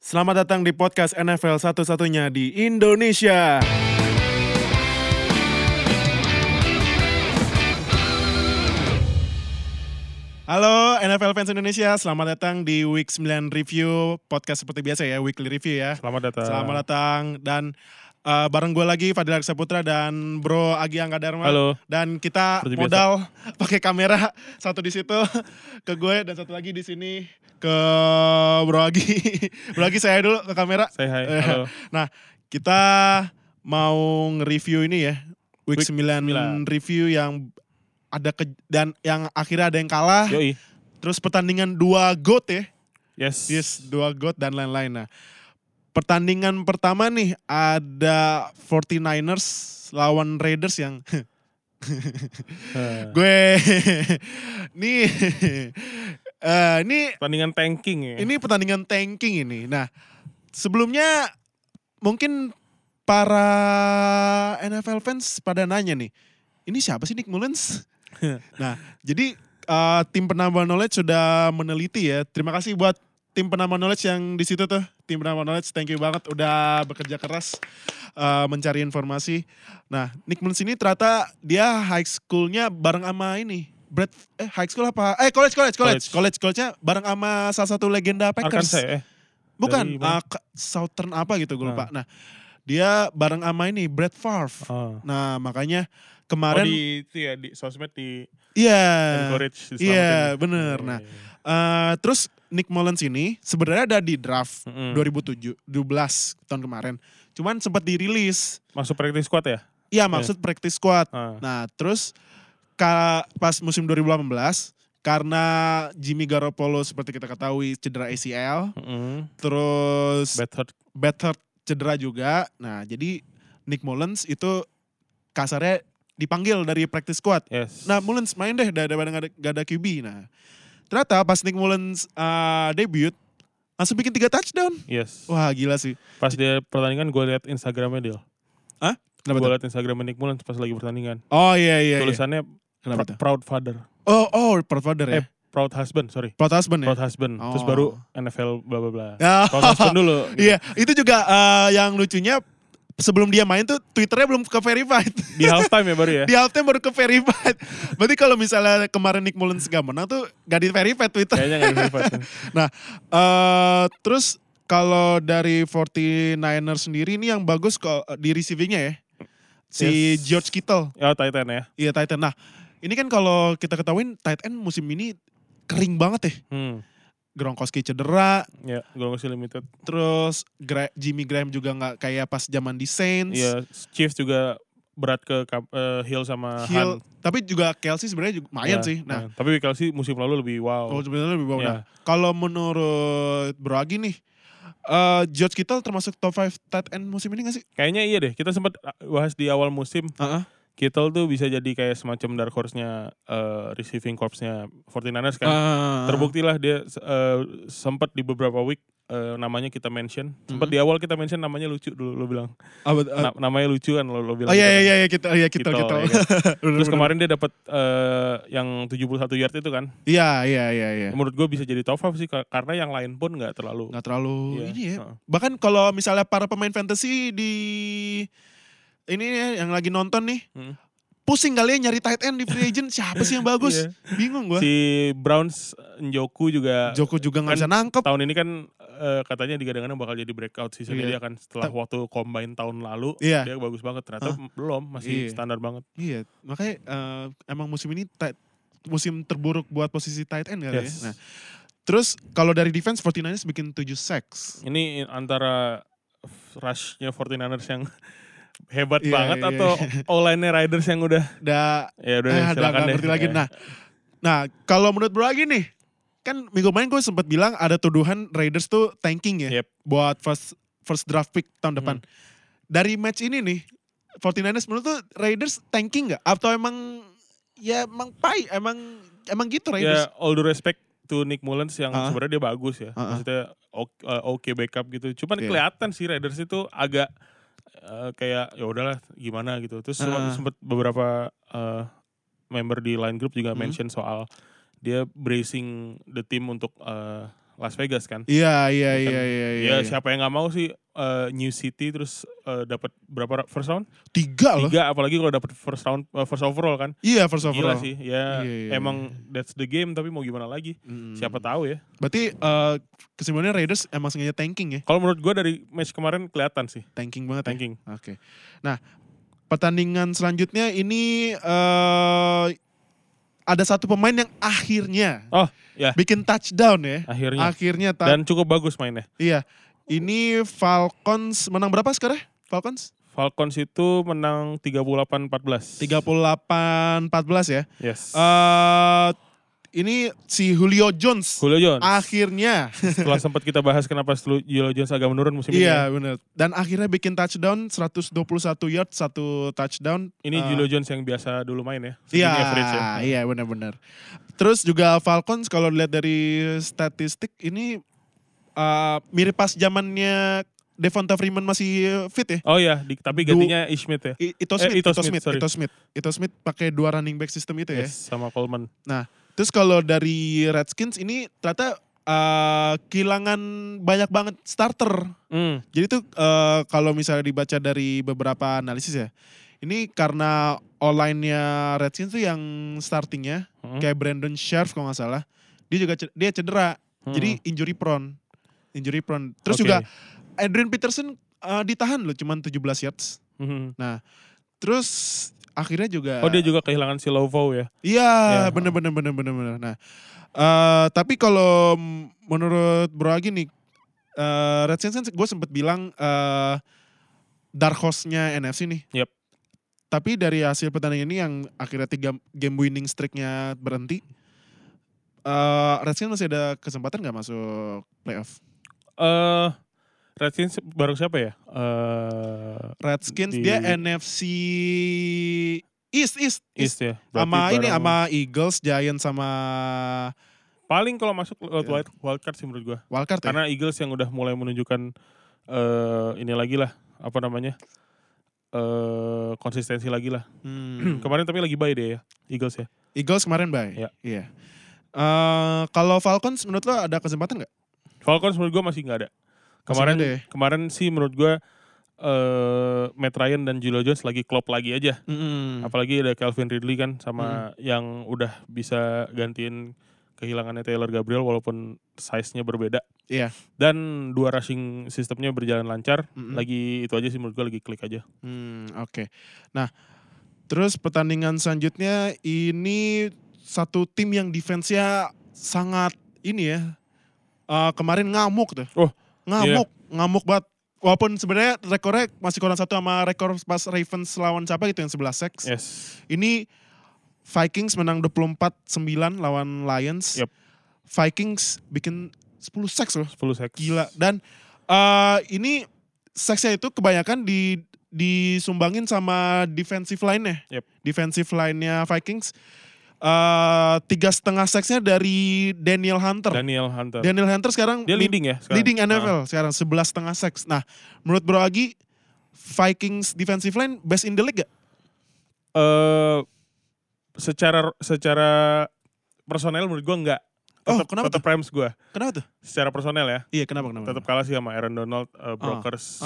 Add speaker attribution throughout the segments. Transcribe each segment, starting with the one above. Speaker 1: Selamat datang di podcast NFL satu-satunya di Indonesia. Halo NFL fans Indonesia, selamat datang di Week 9 Review podcast seperti biasa ya, weekly review ya.
Speaker 2: Selamat datang.
Speaker 1: Selamat datang dan eh, bareng gue lagi Fadil Saputra dan Bro Agi Angga Dharma.
Speaker 2: Halo.
Speaker 1: Dan kita
Speaker 2: Seperti biasa.
Speaker 1: modal pakai kamera satu di situ ke gue dan satu lagi di sini ke Bro Agi. Bro Agi saya dulu ke kamera.
Speaker 2: Saya hai.
Speaker 1: Eh,
Speaker 2: Halo.
Speaker 1: Nah, kita mau nge-review ini ya. Week,
Speaker 2: Week
Speaker 1: 9,
Speaker 2: 9.
Speaker 1: review yang ada ke, dan yang akhirnya ada yang kalah.
Speaker 2: Yoi.
Speaker 1: Terus pertandingan dua GOAT ya.
Speaker 2: Yes.
Speaker 1: Yes, dua GOAT dan lain-lain. Nah, pertandingan pertama nih ada 49ers lawan Raiders yang
Speaker 2: Eh,
Speaker 1: gue nih eh ini
Speaker 2: Pertandingan tanking ya.
Speaker 1: ini pertandingan tanking ini. Nah, sebelumnya mungkin para NFL fans pada nanya nih, ini siapa sih Nick Mullens? nah, jadi eh, tim penambah knowledge sudah meneliti ya. Terima kasih buat tim penambah knowledge yang di situ tuh. Tim penambah knowledge, thank you banget udah bekerja keras eh, mencari informasi. Nah, Nick Mullens ini ternyata dia high schoolnya bareng sama ini. Brad, eh high school apa? Eh college, college, college. College,
Speaker 2: College.
Speaker 1: college-nya bareng sama salah satu legenda Packers.
Speaker 2: Arkansas ya. Eh,
Speaker 1: Bukan,
Speaker 2: Dari
Speaker 1: ah,
Speaker 2: mana? Ah.
Speaker 1: ke- Southern apa gitu gue lupa. Nah, dia bareng sama ini Brad Favre.
Speaker 2: Oh.
Speaker 1: Nah, makanya
Speaker 2: Oh,
Speaker 1: kemarin
Speaker 2: di itu ya di sosmed di
Speaker 1: iya.
Speaker 2: encourage diselamatin.
Speaker 1: Iya, bener. Nah,
Speaker 2: Iya, iya.
Speaker 1: eh, terus Nick Mullens ini sebenarnya ada di draft
Speaker 2: Mm-mm.
Speaker 1: 2007 2012 tahun kemarin. Cuman sempat dirilis.
Speaker 2: masuk practice squad ya?
Speaker 1: Iya, maksud practice squad.
Speaker 2: Ah.
Speaker 1: Nah, terus ka- pas musim 2018 karena Jimmy Garoppolo seperti kita ketahui cedera ACL,
Speaker 2: Mm-mm.
Speaker 1: terus
Speaker 2: Bedford.
Speaker 1: Better cedera juga. Nah, jadi Nick Mullens itu kasarnya dipanggil dari practice squad.
Speaker 2: Yes.
Speaker 1: Nah, Mullens main deh daripada nggak ada, nggak ada QB. Nah, ternyata pas Nick Mullens uh, debut, langsung bikin tiga touchdown.
Speaker 2: yes.
Speaker 1: Wah, gila sih.
Speaker 2: Pas dia pertandingan gue liat Instagramnya dia.
Speaker 1: Kenapa
Speaker 2: Gue
Speaker 1: tuh?
Speaker 2: liat Instagramnya Nick Mullens pas lagi pertandingan.
Speaker 1: Oh iya iya. iya.
Speaker 2: Tulisannya
Speaker 1: Kenapa
Speaker 2: pr-
Speaker 1: tuh?
Speaker 2: proud father,
Speaker 1: Oh oh, proud father ya.
Speaker 2: Eh, proud husband, sorry.
Speaker 1: proud husband ya.
Speaker 2: Proud husband. Terus
Speaker 1: Oh.
Speaker 2: baru NFL bla bla bla.
Speaker 1: Ya.
Speaker 2: Proud husband dulu. gitu.
Speaker 1: Iya, itu juga uh, yang lucunya sebelum dia main tuh Twitternya belum ke verified.
Speaker 2: Di halftime ya baru ya.
Speaker 1: di halftime baru ke verified. Berarti kalau misalnya kemarin Nick Mullens gak menang tuh gak di verified Twitter.
Speaker 2: Kayaknya nggak di verified.
Speaker 1: Nah, eh terus kalau dari 49er sendiri ini yang bagus kok eh, di receivingnya ya. Si
Speaker 2: Yes.
Speaker 1: George Kittle,
Speaker 2: Ya Titan ya.
Speaker 1: iya tight end. Nah, ini kan kalau kita ketahuin tight end musim ini kering banget ya.
Speaker 2: Hmm.
Speaker 1: Gronkowski cedera,
Speaker 2: Ya, Golong masih limited.
Speaker 1: terus Gra- Jimmy Graham juga nggak kayak pas zaman di Saints.
Speaker 2: Iya, Chiefs juga berat ke kap- eh, Hill sama
Speaker 1: Hill,
Speaker 2: Hunt.
Speaker 1: tapi juga Kelsey sebenarnya juga lumayan
Speaker 2: Ya,
Speaker 1: sih. Nah,
Speaker 2: tapi Kelsey musim lalu lebih wow.
Speaker 1: kalau sebenarnya lebih bawah.
Speaker 2: Ya.
Speaker 1: Nah, kalau menurut Bro Agi nih, eh George Kittle termasuk top 5 tight end musim ini gak sih?
Speaker 2: Kayaknya iya deh. Kita sempat bahas di awal musim
Speaker 1: Heeh.
Speaker 2: Kittle tuh bisa jadi kayak semacam dark horse-nya eh, receiving corps-nya 49ers kan.
Speaker 1: Ah.
Speaker 2: Terbuktilah dia eh, sempat di beberapa week eh, namanya kita mention.
Speaker 1: Mm-hmm.
Speaker 2: Sempat di awal kita mention namanya lucu dulu lo bilang.
Speaker 1: Ah, bet- ah.
Speaker 2: Na- namanya lucu kan lo, lo bilang.
Speaker 1: Oh iya iya
Speaker 2: gitu kan.
Speaker 1: iya iya, kita iya kita
Speaker 2: Kittle,
Speaker 1: kita.
Speaker 2: ya kan. Terus kemarin dia dapat eh, yang 71 yard itu kan.
Speaker 1: Iya iya iya iya.
Speaker 2: Menurut gue bisa jadi top 5 sih ka- karena yang lain pun nggak terlalu
Speaker 1: Nggak terlalu
Speaker 2: Iya,
Speaker 1: ini ya.
Speaker 2: heeh.
Speaker 1: Bahkan kalau misalnya para pemain fantasy di ini ya, yang lagi nonton nih,
Speaker 2: Hmm.
Speaker 1: pusing kali ya nyari tight end di free agent siapa sih yang bagus?
Speaker 2: Iya.
Speaker 1: Bingung gua.
Speaker 2: Si Browns Njoku juga
Speaker 1: Joko juga nggak
Speaker 2: kan
Speaker 1: bisa nangkep.
Speaker 2: tahun ini kan eh, katanya digadang-gadang bakal jadi breakout season
Speaker 1: Iya.
Speaker 2: dia kan setelah
Speaker 1: Ta-
Speaker 2: waktu combine tahun lalu
Speaker 1: Iya.
Speaker 2: dia bagus banget ternyata belum masih
Speaker 1: Iya.
Speaker 2: standar banget.
Speaker 1: Iya, makanya eh, emang musim ini tight, musim terburuk buat posisi tight end kali
Speaker 2: Yes.
Speaker 1: ya. Nah, terus kalau dari defense 49ers bikin 7 sacks.
Speaker 2: Ini antara rushnya 49ers yang hebat
Speaker 1: Iya,
Speaker 2: banget
Speaker 1: iya,
Speaker 2: atau online Riders yang udah
Speaker 1: Da,
Speaker 2: ya udah
Speaker 1: Ah, udah
Speaker 2: silakan
Speaker 1: nggak
Speaker 2: deh.
Speaker 1: ngerti lagi.
Speaker 2: Eh,
Speaker 1: Nah, nah kalau menurut Bro Agi nih, kan minggu kemarin gue sempat bilang ada tuduhan Raiders tuh tanking ya
Speaker 2: Yep. Hmm.
Speaker 1: buat first first draft pick tahun depan. Dari match ini nih, 49ers menurut tuh Raiders tanking nggak? Atau emang ya emang pai, emang emang gitu Raiders?
Speaker 2: ya all the respect to Nick Mullens yang
Speaker 1: Ah.
Speaker 2: sebenarnya dia bagus ya.
Speaker 1: Ah, ah.
Speaker 2: Maksudnya oke eh, oke backup gitu. Cuman
Speaker 1: Iya.
Speaker 2: kelihatan sih Raiders itu agak eh, kayak ya udahlah gimana gitu. Terus
Speaker 1: Ah, ah.
Speaker 2: sempat beberapa eh, member di line group
Speaker 1: Hmm.
Speaker 2: juga mention soal dia bracing the team untuk eh, Las Vegas kan.
Speaker 1: Iya, iya,
Speaker 2: Kan,
Speaker 1: iya, iya, iya.
Speaker 2: ya siapa yang nggak mau sih eh, New City terus eh, dapat berapa ra- first round?
Speaker 1: Tiga loh.
Speaker 2: Tiga apalagi kalau dapat first round eh, first overall kan.
Speaker 1: Iya, first
Speaker 2: Gila
Speaker 1: overall.
Speaker 2: sih. Ya
Speaker 1: Iya, iya,
Speaker 2: emang that's the game tapi mau gimana lagi?
Speaker 1: Hmm.
Speaker 2: Siapa tahu ya.
Speaker 1: Berarti eh, kesimpulannya Raiders emang sengaja tanking ya.
Speaker 2: Kalau menurut gua dari match kemarin kelihatan sih
Speaker 1: Tanking banget ya.
Speaker 2: tanking.
Speaker 1: Oke. Nah, pertandingan selanjutnya ini eh ada satu pemain yang akhirnya
Speaker 2: Oh, ya.
Speaker 1: bikin touchdown ya.
Speaker 2: Akhirnya.
Speaker 1: Akhirnya ta-
Speaker 2: Dan cukup bagus mainnya.
Speaker 1: iya. Ini Falcons menang berapa sekarang? Falcons
Speaker 2: Falcons itu menang 38-14.
Speaker 1: 38-14 ya.
Speaker 2: Yes.
Speaker 1: Eh ini si Julio Jones
Speaker 2: Julio Jones.
Speaker 1: Ah. akhirnya
Speaker 2: Setelah sempat kita bahas kenapa selu- Julio Jones agak menurun musim ini. ya.
Speaker 1: Iya benar. Dan akhirnya bikin touchdown 121 yard satu touchdown.
Speaker 2: Ini
Speaker 1: Eh,
Speaker 2: Julio Jones yang biasa dulu main ya. Segini
Speaker 1: Iya,
Speaker 2: average ya.
Speaker 1: iya benar-benar. Terus juga Falcons kalau dilihat dari statistik ini eh, mirip pas zamannya Devonta Freeman masih fit ya.
Speaker 2: Oh iya, di- tapi
Speaker 1: Du-
Speaker 2: gantinya Ishmit ya.
Speaker 1: I- Ito
Speaker 2: Eh,
Speaker 1: Smith,
Speaker 2: Ito
Speaker 1: Ito
Speaker 2: Smith,
Speaker 1: Smith,
Speaker 2: sorry.
Speaker 1: Ito Smith, Ito Smith pakai dua running back system itu ya. Nah,
Speaker 2: Yes, sama Coleman.
Speaker 1: Terus kalau dari Redskins ini ternyata eh, kehilangan banyak banget starter.
Speaker 2: Hmm.
Speaker 1: Jadi tuh eh, kalau misalnya dibaca dari beberapa analisis ya, ini karena online-nya Redskins tuh yang startingnya
Speaker 2: Hmm.
Speaker 1: kayak Brandon Scherf kalau nggak salah, dia juga ce- dia cedera,
Speaker 2: Hmm.
Speaker 1: jadi injury prone, injury prone. Terus
Speaker 2: Oke.
Speaker 1: juga Adrian Peterson eh, ditahan loh, cuman 17 yards.
Speaker 2: Hmm.
Speaker 1: Terus akhirnya juga,
Speaker 2: Oh dia juga kehilangan si Lovo ya.
Speaker 1: iya
Speaker 2: Ya.
Speaker 1: bener-bener bener-bener bener. Nah, eh, tapi kalau m- menurut Bro Agi nih, eh, Redskins kan gue sempet bilang eh dark horse-nya NFC nih.
Speaker 2: Yep.
Speaker 1: Tapi dari hasil pertandingan ini yang akhirnya tiga game winning streak-nya berhenti, eh Redskins masih ada kesempatan nggak masuk playoff?
Speaker 2: Eh Redskins baru siapa ya? Eh
Speaker 1: Redskins
Speaker 2: Di-
Speaker 1: dia NFC East East, East.
Speaker 2: East ya. Berarti
Speaker 1: sama ini
Speaker 2: bareng-
Speaker 1: sama Eagles, Giants sama
Speaker 2: paling kalau masuk lewat
Speaker 1: Iya.
Speaker 2: wild, wildcard sih menurut gua.
Speaker 1: Wildcard ya?
Speaker 2: Karena Eagles yang udah mulai menunjukkan eh ini lagi lah apa namanya? eh konsistensi lagi lah.
Speaker 1: Hmm.
Speaker 2: Kemarin tapi lagi bye deh ya Eagles ya.
Speaker 1: Eagles kemarin bye.
Speaker 2: Iya.
Speaker 1: Iya. Eh, kalau Falcons menurut lo ada kesempatan nggak?
Speaker 2: Falcons menurut gua masih nggak ada. Kemarin
Speaker 1: ada ya?
Speaker 2: kemarin sih menurut gua eh Matt Ryan dan Julio Jones lagi klop lagi aja.
Speaker 1: Mm-mm.
Speaker 2: Apalagi ada Calvin Ridley kan
Speaker 1: Hmm.
Speaker 2: sama yang udah bisa gantiin kehilangannya Taylor Gabriel walaupun size-nya berbeda.
Speaker 1: Iya.
Speaker 2: Dan dua rushing sistemnya berjalan lancar.
Speaker 1: Mm-mm.
Speaker 2: Lagi itu aja sih menurut gue lagi klik aja.
Speaker 1: Hmm, oke. Nah, terus pertandingan selanjutnya ini satu tim yang defense-nya sangat ini ya. eh, kemarin ngamuk tuh.
Speaker 2: Oh,
Speaker 1: ngamuk, ngamuk banget. Walaupun sebenarnya rekornya masih kurang satu sama rekor pas Ravens lawan siapa gitu yang 11
Speaker 2: Iya.
Speaker 1: seks.
Speaker 2: Yes.
Speaker 1: Ini Vikings menang 24-9 lawan Lions.
Speaker 2: Yep.
Speaker 1: Vikings bikin 10 seks loh.
Speaker 2: 10 seks.
Speaker 1: Gila. Dan eh, ini seksnya itu kebanyakan di disumbangin sama defensive line-nya.
Speaker 2: Yep.
Speaker 1: Defensive line-nya Vikings. eh tiga setengah seksnya dari Daniel Hunter.
Speaker 2: Daniel Hunter.
Speaker 1: Daniel Hunter sekarang
Speaker 2: Dia
Speaker 1: lead-
Speaker 2: leading ya sekarang?
Speaker 1: leading
Speaker 2: Ah,
Speaker 1: NFL sekarang 11 setengah seks. Nah, menurut Bro Agi, Vikings defensive line best in the league gak?
Speaker 2: eh, secara secara personel menurut gue enggak.
Speaker 1: Oh,
Speaker 2: Tetep-
Speaker 1: kenapa
Speaker 2: Tetep Rams gue.
Speaker 1: Kenapa tuh?
Speaker 2: Secara personel ya.
Speaker 1: Iya, kenapa kenapa?
Speaker 2: Tetap kalah sih sama Aaron Donald, eh, Brokers,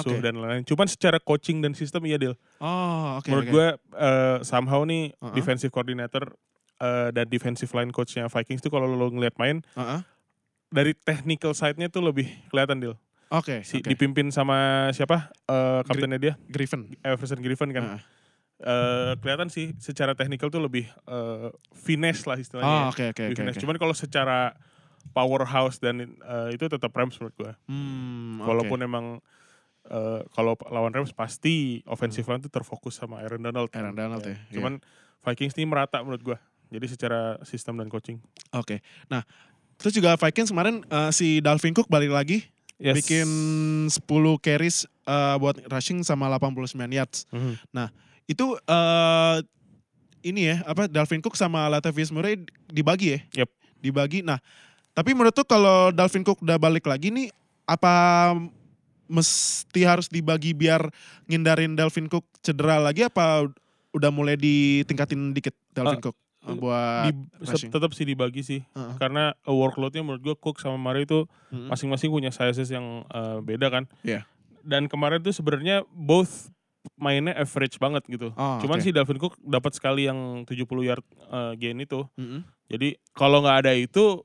Speaker 1: Oh, oke.
Speaker 2: Suh, dan lain-lain. Cuman secara coaching dan sistem iya deal.
Speaker 1: Oh, oke.
Speaker 2: Menurut
Speaker 1: oke.
Speaker 2: gue eh, somehow nih
Speaker 1: Uh-uh.
Speaker 2: defensive coordinator eh, dan defensive line coachnya Vikings tuh kalau lo ngeliat main
Speaker 1: Heeh.
Speaker 2: dari technical side-nya tuh lebih kelihatan deal.
Speaker 1: Oke,
Speaker 2: Si,
Speaker 1: oke.
Speaker 2: Dipimpin sama siapa? Eh, kaptennya dia,
Speaker 1: Griffin.
Speaker 2: Everson Griffin
Speaker 1: Heeh.
Speaker 2: kan. Eh, kelihatan sih secara technical tuh lebih eh, finesse lah
Speaker 1: Oh,
Speaker 2: istilahnya. ya.
Speaker 1: oke oke
Speaker 2: Lebih
Speaker 1: oke.
Speaker 2: finesse.
Speaker 1: oke.
Speaker 2: Cuman kalau secara powerhouse dan eh, itu tetap Rams menurut gue.
Speaker 1: Hmm, oke.
Speaker 2: Walaupun emang eh, kalau lawan Rams pasti offensive line tuh terfokus sama Aaron Donald.
Speaker 1: Hmm.
Speaker 2: kan.
Speaker 1: Aaron Donald ya, iya.
Speaker 2: Cuman Vikings ini merata menurut gua. Jadi secara sistem dan coaching.
Speaker 1: Oke. Nah, terus juga Vikings kemarin eh, si Dalvin Cook balik lagi
Speaker 2: Yes.
Speaker 1: bikin 10 carries eh, buat rushing sama 89 yards.
Speaker 2: Mhm.
Speaker 1: Itu eh ini ya, apa Dalvin Cook sama Latavius Murray dibagi ya?
Speaker 2: Yep.
Speaker 1: Dibagi. Nah, tapi menurut tuh kalau Dalvin Cook udah balik lagi nih apa mesti harus dibagi biar ngindarin Dalvin Cook cedera lagi apa udah mulai ditingkatin dikit Dalvin Cook? eh, buat
Speaker 2: Ah, di,
Speaker 1: rushing.
Speaker 2: tetap sih dibagi sih
Speaker 1: Heeh.
Speaker 2: karena eh, workloadnya menurut gue Cook sama Murray itu
Speaker 1: Mm-mm.
Speaker 2: masing-masing punya sizes yang eh, beda kan.
Speaker 1: Iya.
Speaker 2: Dan kemarin tuh sebenarnya both mainnya average banget gitu.
Speaker 1: Oh,
Speaker 2: Cuman
Speaker 1: oke.
Speaker 2: si Dalvin Cook dapat sekali yang 70 yard eh, gain itu.
Speaker 1: Mm-mm.
Speaker 2: Jadi kalau nggak ada itu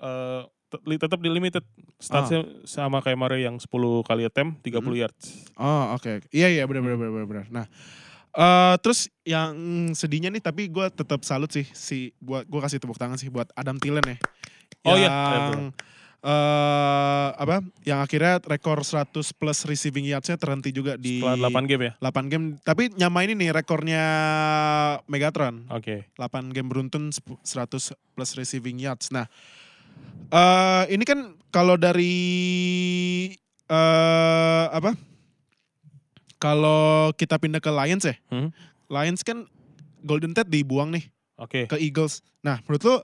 Speaker 2: eh, tet- li- tetap di limited. Statsnya sama kayak Murray yang 10 kali attempt
Speaker 1: Ah.
Speaker 2: 30
Speaker 1: Mm-mm.
Speaker 2: yards.
Speaker 1: Oh oke, oke. iya iya benar benar benar benar, benar. Nah eh, terus yang sedihnya nih tapi gue tetap salut sih si buat gue kasih tepuk tangan sih buat Adam Thielen ya.
Speaker 2: Oh, iya.
Speaker 1: Yang, eh, apa? Yang akhirnya rekor 100 plus receiving yardsnya terhenti juga di
Speaker 2: Setelah 8 game ya.
Speaker 1: 8 game. Tapi nyamain ini rekornya Megatron.
Speaker 2: Oke.
Speaker 1: 8 game beruntun sepu- 100 plus receiving yards. Nah, eh ini kan kalau dari eh apa? Kalau kita pindah ke Lions ya.
Speaker 2: Hmm.
Speaker 1: Lions kan Golden Tate dibuang nih
Speaker 2: Oke.
Speaker 1: ke Eagles. Nah, menurut lo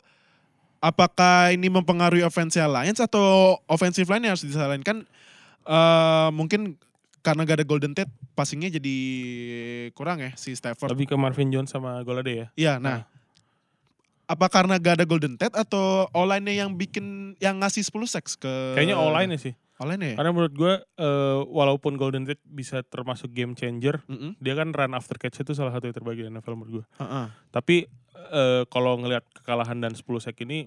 Speaker 1: apakah ini mempengaruhi offense Lions atau offensive line yang harus disalahin kan eh mungkin karena gak ada Golden Tate passingnya jadi kurang ya si Stafford.
Speaker 2: Lebih ke Marvin Jones sama Golade ya.
Speaker 1: Iya, nah. Apa karena gak ada Golden Tate atau online-nya yang bikin yang ngasih 10 seks ke
Speaker 2: Kayaknya online sih.
Speaker 1: Online ya?
Speaker 2: Karena menurut gue eh, walaupun Golden State bisa termasuk game changer,
Speaker 1: Mm-mm.
Speaker 2: dia kan run after catch itu salah satu yang terbaik di NFL menurut gue.
Speaker 1: Heeh.
Speaker 2: Tapi eh, kalau ngelihat kekalahan dan 10 sek ini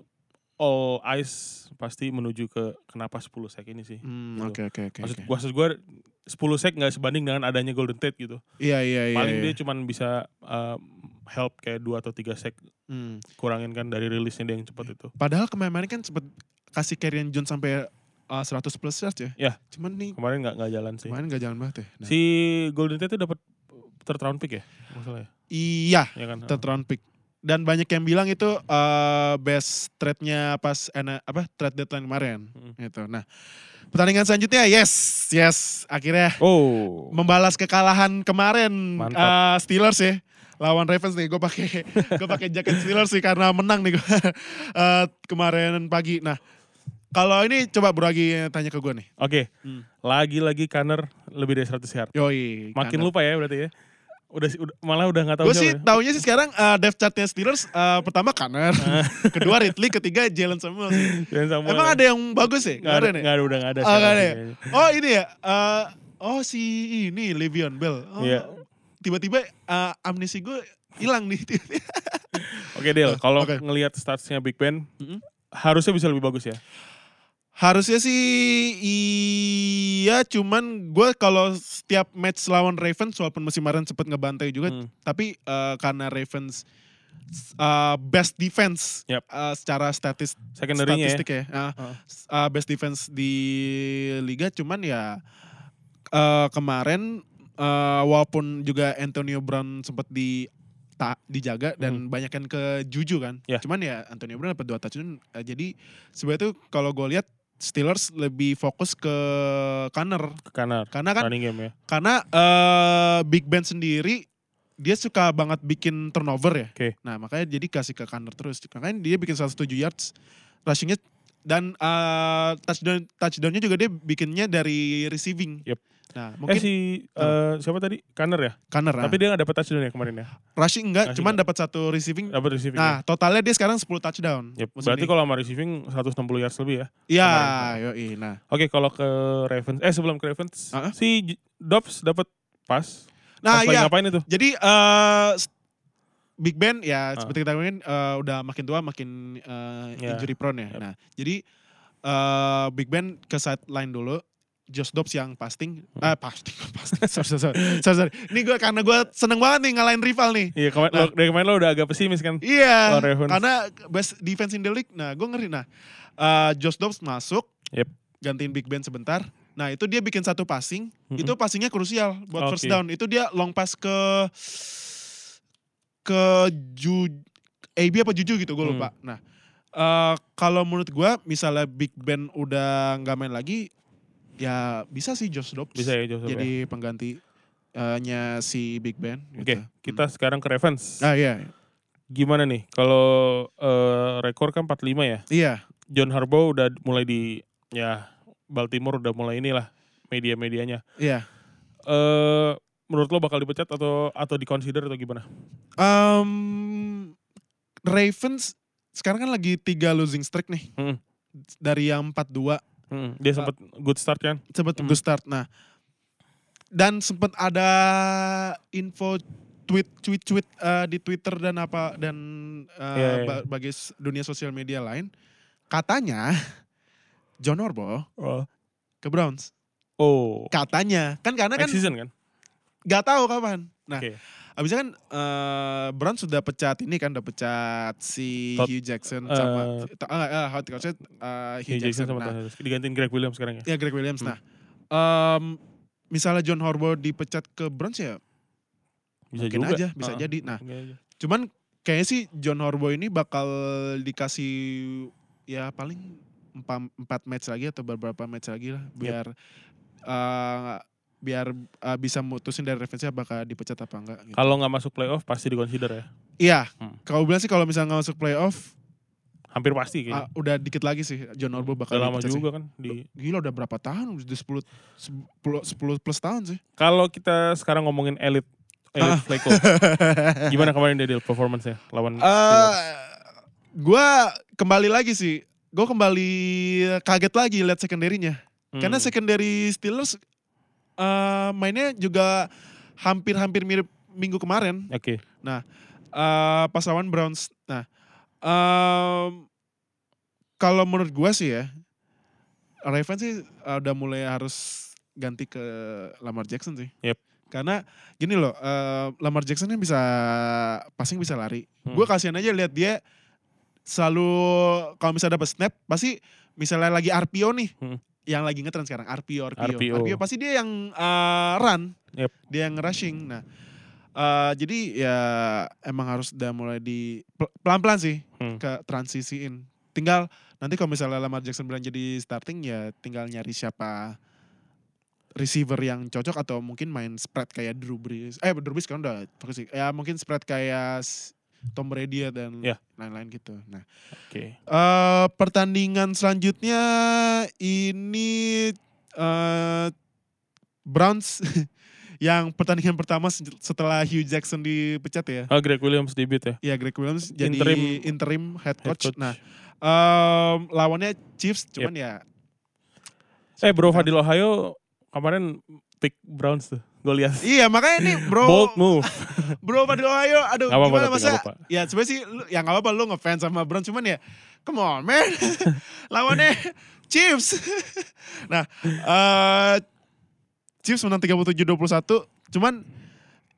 Speaker 2: all eyes pasti menuju ke kenapa 10 sek ini sih.
Speaker 1: Hmm,
Speaker 2: Gitu.
Speaker 1: Oke oke oke.
Speaker 2: Maksud,
Speaker 1: oke.
Speaker 2: gua, maksud gue 10 sek nggak sebanding dengan adanya Golden State gitu.
Speaker 1: Iya iya iya. iya.
Speaker 2: Paling dia cuman bisa eh, help kayak 2 atau 3 sek
Speaker 1: Hmm.
Speaker 2: kurangin kan dari rilisnya dia yang
Speaker 1: Iya.
Speaker 2: cepat itu.
Speaker 1: Padahal kemarin kan sempet kasih Karrion John sampai uh, 100 plus yards ya.
Speaker 2: Iya.
Speaker 1: Cuman nih
Speaker 2: Kemarin nggak nggak jalan sih.
Speaker 1: kemarin gak jalan banget ya. Nah,
Speaker 2: Si Golden State itu dapat third round pick ya? Masalahnya.
Speaker 1: Iya,
Speaker 2: Ya kan.
Speaker 1: third round pick. Dan banyak yang bilang itu uh, best trade-nya pas ena- apa trade deadline kemarin
Speaker 2: Mm.
Speaker 1: gitu. Nah, pertandingan selanjutnya yes, yes akhirnya
Speaker 2: Oh.
Speaker 1: membalas kekalahan kemarin
Speaker 2: Mantap.
Speaker 1: eh, Steelers ya lawan Ravens nih gue pakai gue pakai jaket Steelers sih karena menang nih gua, eh, kemarin pagi nah kalau ini coba Bro lagi tanya ke gue nih
Speaker 2: Oke,
Speaker 1: Hmm.
Speaker 2: lagi-lagi Kaner lebih dari 100 yard.
Speaker 1: yoi
Speaker 2: Makin lupa ya berarti ya. Udah, sih- udah- malah udah nggak tahu
Speaker 1: gue sih
Speaker 2: siapa ya.
Speaker 1: taunya sih sekarang eh, depth chartnya Steelers eh, pertama Kanner kedua Ridley ketiga Jalen Samuel
Speaker 2: Dan Samuel
Speaker 1: emang
Speaker 2: ya.
Speaker 1: ada yang bagus ya
Speaker 2: nggak
Speaker 1: nggak
Speaker 2: ada,
Speaker 1: ada nih
Speaker 2: nggak ada, udah nggak ada.
Speaker 1: Oh,
Speaker 2: sekarang
Speaker 1: nggak ada ya?
Speaker 2: kayaknya.
Speaker 1: oh ini ya eh, oh si ini Le'Veon Bell Oh,
Speaker 2: Iya.
Speaker 1: tiba-tiba eh, amnesi gue hilang nih
Speaker 2: Oke Del, kalau
Speaker 1: Oke. Hmm.
Speaker 2: ngelihat statsnya Big Ben,
Speaker 1: Mm-mm.
Speaker 2: harusnya bisa lebih bagus ya.
Speaker 1: Harusnya sih iya, cuman gue kalau setiap match lawan Ravens walaupun musim kemarin sempet ngebantai juga,
Speaker 2: Hmm.
Speaker 1: tapi eh, karena Ravens eh, best defense
Speaker 2: Yap.
Speaker 1: eh, secara statis
Speaker 2: Secondary-nya ya.
Speaker 1: statistik ya, eh,
Speaker 2: Heeh.
Speaker 1: s- eh, best defense di liga, cuman ya eh, kemarin eh, walaupun juga Antonio Brown sempet di ta- dijaga dan banyak yang ke Juju kan.
Speaker 2: Hmm. Ya.
Speaker 1: Cuman ya Antonio Brown dapat dua touchdown. Eh, jadi sebenarnya tuh kalau gue lihat Steelers lebih fokus ke Kanner
Speaker 2: ke Kaner.
Speaker 1: karena kan
Speaker 2: Running game ya.
Speaker 1: karena eh, Big Ben sendiri dia suka banget bikin turnover ya.
Speaker 2: Oke.
Speaker 1: Nah, makanya jadi kasih ke Kanner terus. Makanya dia bikin 107 yards rushingnya dan eh, touchdown touchdownnya juga dia bikinnya dari receiving.
Speaker 2: Yep.
Speaker 1: Nah,
Speaker 2: Eh
Speaker 1: mungkin
Speaker 2: si eh, siapa tadi? Kaner ya.
Speaker 1: Kanner ah.
Speaker 2: Tapi dia nggak dapat touchdown ya kemarin ya.
Speaker 1: rushing enggak,
Speaker 2: Rushing
Speaker 1: cuman dapat satu receiving.
Speaker 2: Dapat receiving.
Speaker 1: Nah, totalnya dia sekarang 10 touchdown.
Speaker 2: ya. Yep.
Speaker 1: musim
Speaker 2: Berarti
Speaker 1: ini.
Speaker 2: kalau sama receiving 160 yards lebih ya.
Speaker 1: Iya,
Speaker 2: kemarin.
Speaker 1: yoi. Nah,
Speaker 2: Oke, kalau ke Ravens, eh sebelum ke Ravens,
Speaker 1: Heeh.
Speaker 2: si J- Dobbs dapat pass.
Speaker 1: nah
Speaker 2: Pas lagi
Speaker 1: iya.
Speaker 2: ngapain itu?
Speaker 1: Jadi eh s- Big Ben ya
Speaker 2: Ah.
Speaker 1: seperti kita ketahui eh, udah makin tua makin eh,
Speaker 2: Ya.
Speaker 1: injury prone ya.
Speaker 2: Yap.
Speaker 1: Nah, jadi eh Big Ben ke sideline dulu. Josh Dobbs yang pasting, eh
Speaker 2: Hmm.
Speaker 1: pasting, pasting, sorry, sorry, sorry, sorry, sorry. Ini gue karena gue seneng banget nih ngalahin rival nih.
Speaker 2: Iya, kemarin
Speaker 1: Nah.
Speaker 2: lo- dari kemarin lo udah agak pesimis kan?
Speaker 1: Iya,
Speaker 2: Lawan Ravens.
Speaker 1: karena best defense in the league. Nah, gue ngeri. Nah, eh, Josh Dobbs masuk,
Speaker 2: Yep.
Speaker 1: gantiin Big Ben sebentar. Nah, itu dia bikin satu passing.
Speaker 2: Mm-mm.
Speaker 1: Itu passingnya krusial buat first
Speaker 2: Oke.
Speaker 1: down. Itu dia long pass ke ke Ju AB apa Juju gitu, gue
Speaker 2: Hmm.
Speaker 1: lupa. Nah, eh, kalau menurut gue, misalnya Big Ben udah nggak main lagi, ya bisa sih Josh Dobbs
Speaker 2: Bisa ya Joseph. ya?
Speaker 1: jadi pengganti eh, nya si Big Ben.
Speaker 2: Oke,
Speaker 1: gitu.
Speaker 2: kita sekarang ke Ravens.
Speaker 1: Ah iya,
Speaker 2: Gimana nih? Kalau eh, rekor kan 45 ya.
Speaker 1: iya.
Speaker 2: John Harbaugh udah mulai di ya Baltimore udah mulai inilah media-medianya.
Speaker 1: Iya.
Speaker 2: Eh menurut lo bakal dipecat atau atau diconsider atau gimana?
Speaker 1: Em, Ravens sekarang kan lagi tiga losing streak nih.
Speaker 2: Mm.
Speaker 1: Dari yang 4-2 Hmm.
Speaker 2: Mm, dia sempat good start kan?
Speaker 1: sempat
Speaker 2: Mm.
Speaker 1: good start. Nah, dan sempat ada info tweet tweet tweet eh, di Twitter dan apa dan eh,
Speaker 2: Iya, iya.
Speaker 1: ba- bagi s- dunia sosial media lain katanya John Orbo ke Browns.
Speaker 2: Oh,
Speaker 1: Katanya kan karena kan
Speaker 2: next season kan?
Speaker 1: nggak tahu kapan. Nah,
Speaker 2: Oke.
Speaker 1: abisnya kan eh, Browns sudah pecat ini kan udah pecat si
Speaker 2: Todd-
Speaker 1: Hugh Jackson
Speaker 2: eh,
Speaker 1: sama eh eh, head coachnya, eh, Hugh,
Speaker 2: Hugh Jackson sama
Speaker 1: Nah,
Speaker 2: Tanner. digantiin Greg Williams sekarang ya.
Speaker 1: Ya Greg Williams.
Speaker 2: Hmm.
Speaker 1: Nah, em, misalnya John Harbaugh dipecat ke Browns ya
Speaker 2: Bisa
Speaker 1: mungkin
Speaker 2: juga.
Speaker 1: aja bisa
Speaker 2: Ah,
Speaker 1: jadi. Nah,
Speaker 2: mungkin aja.
Speaker 1: cuman kayaknya sih John Harbaugh ini bakal dikasih ya paling empat, empat match lagi atau beberapa match lagi lah biar eh, biar eh, bisa mutusin dari Ravens apakah dipecat apa enggak. Gitu.
Speaker 2: Kalau nggak masuk playoff pasti dikonsider ya.
Speaker 1: Iya,
Speaker 2: Ah. Hmm.
Speaker 1: kalau bilang sih kalau misalnya nggak masuk playoff
Speaker 2: Hampir pasti
Speaker 1: ah,
Speaker 2: kayaknya.
Speaker 1: udah dikit lagi sih John Harbaugh bakal
Speaker 2: Iya. Udah lama
Speaker 1: dipecat sih.
Speaker 2: juga kan di
Speaker 1: Gila udah berapa tahun? Udah 10 10, 10 plus tahun sih.
Speaker 2: Kalau kita sekarang ngomongin elit elit Flacco. Gimana kemarin dia deal performance-nya lawan
Speaker 1: Ah. eh gue kembali lagi sih. Gue kembali kaget lagi lihat secondary-nya.
Speaker 2: Hmm.
Speaker 1: Karena secondary Steelers eh mainnya juga hampir-hampir mirip minggu kemarin
Speaker 2: Oke.
Speaker 1: eh pas lawan Browns. Nah, em, kalau menurut gue sih ya, Ravens sih eh, udah mulai harus ganti ke Lamar Jackson sih.
Speaker 2: Yep.
Speaker 1: Karena gini loh, eh, Lamar Jackson kan bisa passing bisa lari.
Speaker 2: Hmm.
Speaker 1: Gue kasihan aja lihat dia selalu kalau misalnya dapat snap pasti misalnya lagi RPO nih.
Speaker 2: Hmm.
Speaker 1: Yang lagi ngetren sekarang RPO, RPO.
Speaker 2: RPO.
Speaker 1: pasti dia yang eh, run.
Speaker 2: Yep.
Speaker 1: Dia yang rushing. Nah, Eh, jadi ya emang harus udah mulai di pel- pelan-pelan sih
Speaker 2: Hmm.
Speaker 1: ke transisiin. Tinggal nanti kalau misalnya Lamar Jackson bilang jadi starting ya tinggal nyari siapa receiver yang cocok atau mungkin main spread kayak Drew Brees. Eh Drew Brees kan udah fokus sih. Ya mungkin spread kayak s- Tom Brady ya dan
Speaker 2: Ya.
Speaker 1: lain-lain gitu. Nah,
Speaker 2: Oke.
Speaker 1: eh, pertandingan selanjutnya ini eh Browns yang pertandingan pertama se- setelah Hugh Jackson dipecat ya.
Speaker 2: Ah, Greg Williams debut ya.
Speaker 1: Ya Greg Williams jadi interim,
Speaker 2: Interim-
Speaker 1: head,
Speaker 2: Head
Speaker 1: coach.
Speaker 2: coach.
Speaker 1: Nah, em, lawannya Chiefs cuman ya
Speaker 2: Eh Bro
Speaker 1: Nah.
Speaker 2: Fadil Ohio kemarin pick Browns tuh. Gue lihat.
Speaker 1: Iya makanya nih bro
Speaker 2: Bold move.
Speaker 1: Bro Fadil Ohio Aduh
Speaker 2: Gak apa-apa
Speaker 1: gimana
Speaker 2: tapi
Speaker 1: masa
Speaker 2: gak apa-apa.
Speaker 1: Ya sebenernya sih lu, Ya gak apa-apa lu ngefans sama Brown Cuman ya Come on man Lawannya Chiefs Nah eh Chiefs menang 37-21 Cuman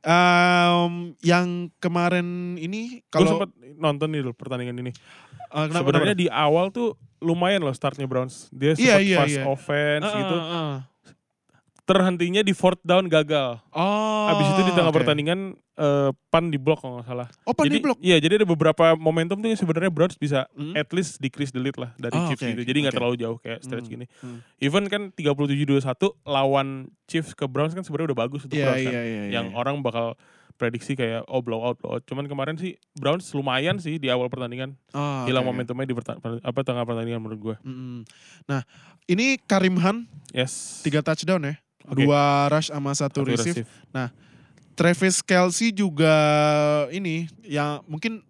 Speaker 1: em, Yang kemarin ini
Speaker 2: Gue
Speaker 1: Kalau
Speaker 2: sempat nonton nih loh pertandingan ini.
Speaker 1: eh, kenapa-
Speaker 2: Sebenarnya
Speaker 1: kenapa?
Speaker 2: di awal tuh lumayan loh startnya Browns. Dia
Speaker 1: Iya,
Speaker 2: sempat
Speaker 1: iya,
Speaker 2: fast
Speaker 1: iya.
Speaker 2: offense
Speaker 1: Eh,
Speaker 2: gitu.
Speaker 1: eh, eh.
Speaker 2: Terhentinya di fourth down gagal.
Speaker 1: Oh
Speaker 2: Habis itu di tengah
Speaker 1: oke.
Speaker 2: pertandingan eh, pan di blok kalau nggak salah.
Speaker 1: Oh pan
Speaker 2: jadi,
Speaker 1: di blok
Speaker 2: Iya, jadi ada beberapa momentum tuh yang sebenarnya Browns bisa
Speaker 1: Hmm.
Speaker 2: at least decrease the lead lah dari
Speaker 1: Oh,
Speaker 2: Chiefs
Speaker 1: oke,
Speaker 2: gitu.
Speaker 1: oke,
Speaker 2: Jadi nggak
Speaker 1: oke.
Speaker 2: terlalu jauh kayak stretch
Speaker 1: Hmm,
Speaker 2: gini.
Speaker 1: hmm.
Speaker 2: Even kan 37-21 lawan Chiefs ke Browns kan sebenarnya udah bagus untuk
Speaker 1: Iya
Speaker 2: Browns kan.
Speaker 1: iya iya
Speaker 2: yang
Speaker 1: iya.
Speaker 2: orang bakal prediksi kayak oh blowout blowout. Cuman kemarin sih Browns lumayan sih di awal pertandingan.
Speaker 1: Oh, oke,
Speaker 2: Hilang
Speaker 1: oke.
Speaker 2: momentumnya di perta- per- apa tengah pertandingan menurut gue.
Speaker 1: Mm-mm. Nah, ini Karim Han
Speaker 2: Yes.
Speaker 1: tiga touchdown ya.
Speaker 2: Oke.
Speaker 1: Dua rush sama satu
Speaker 2: Satu
Speaker 1: receive.
Speaker 2: receive.
Speaker 1: Travis Kelsey juga ini yang mungkin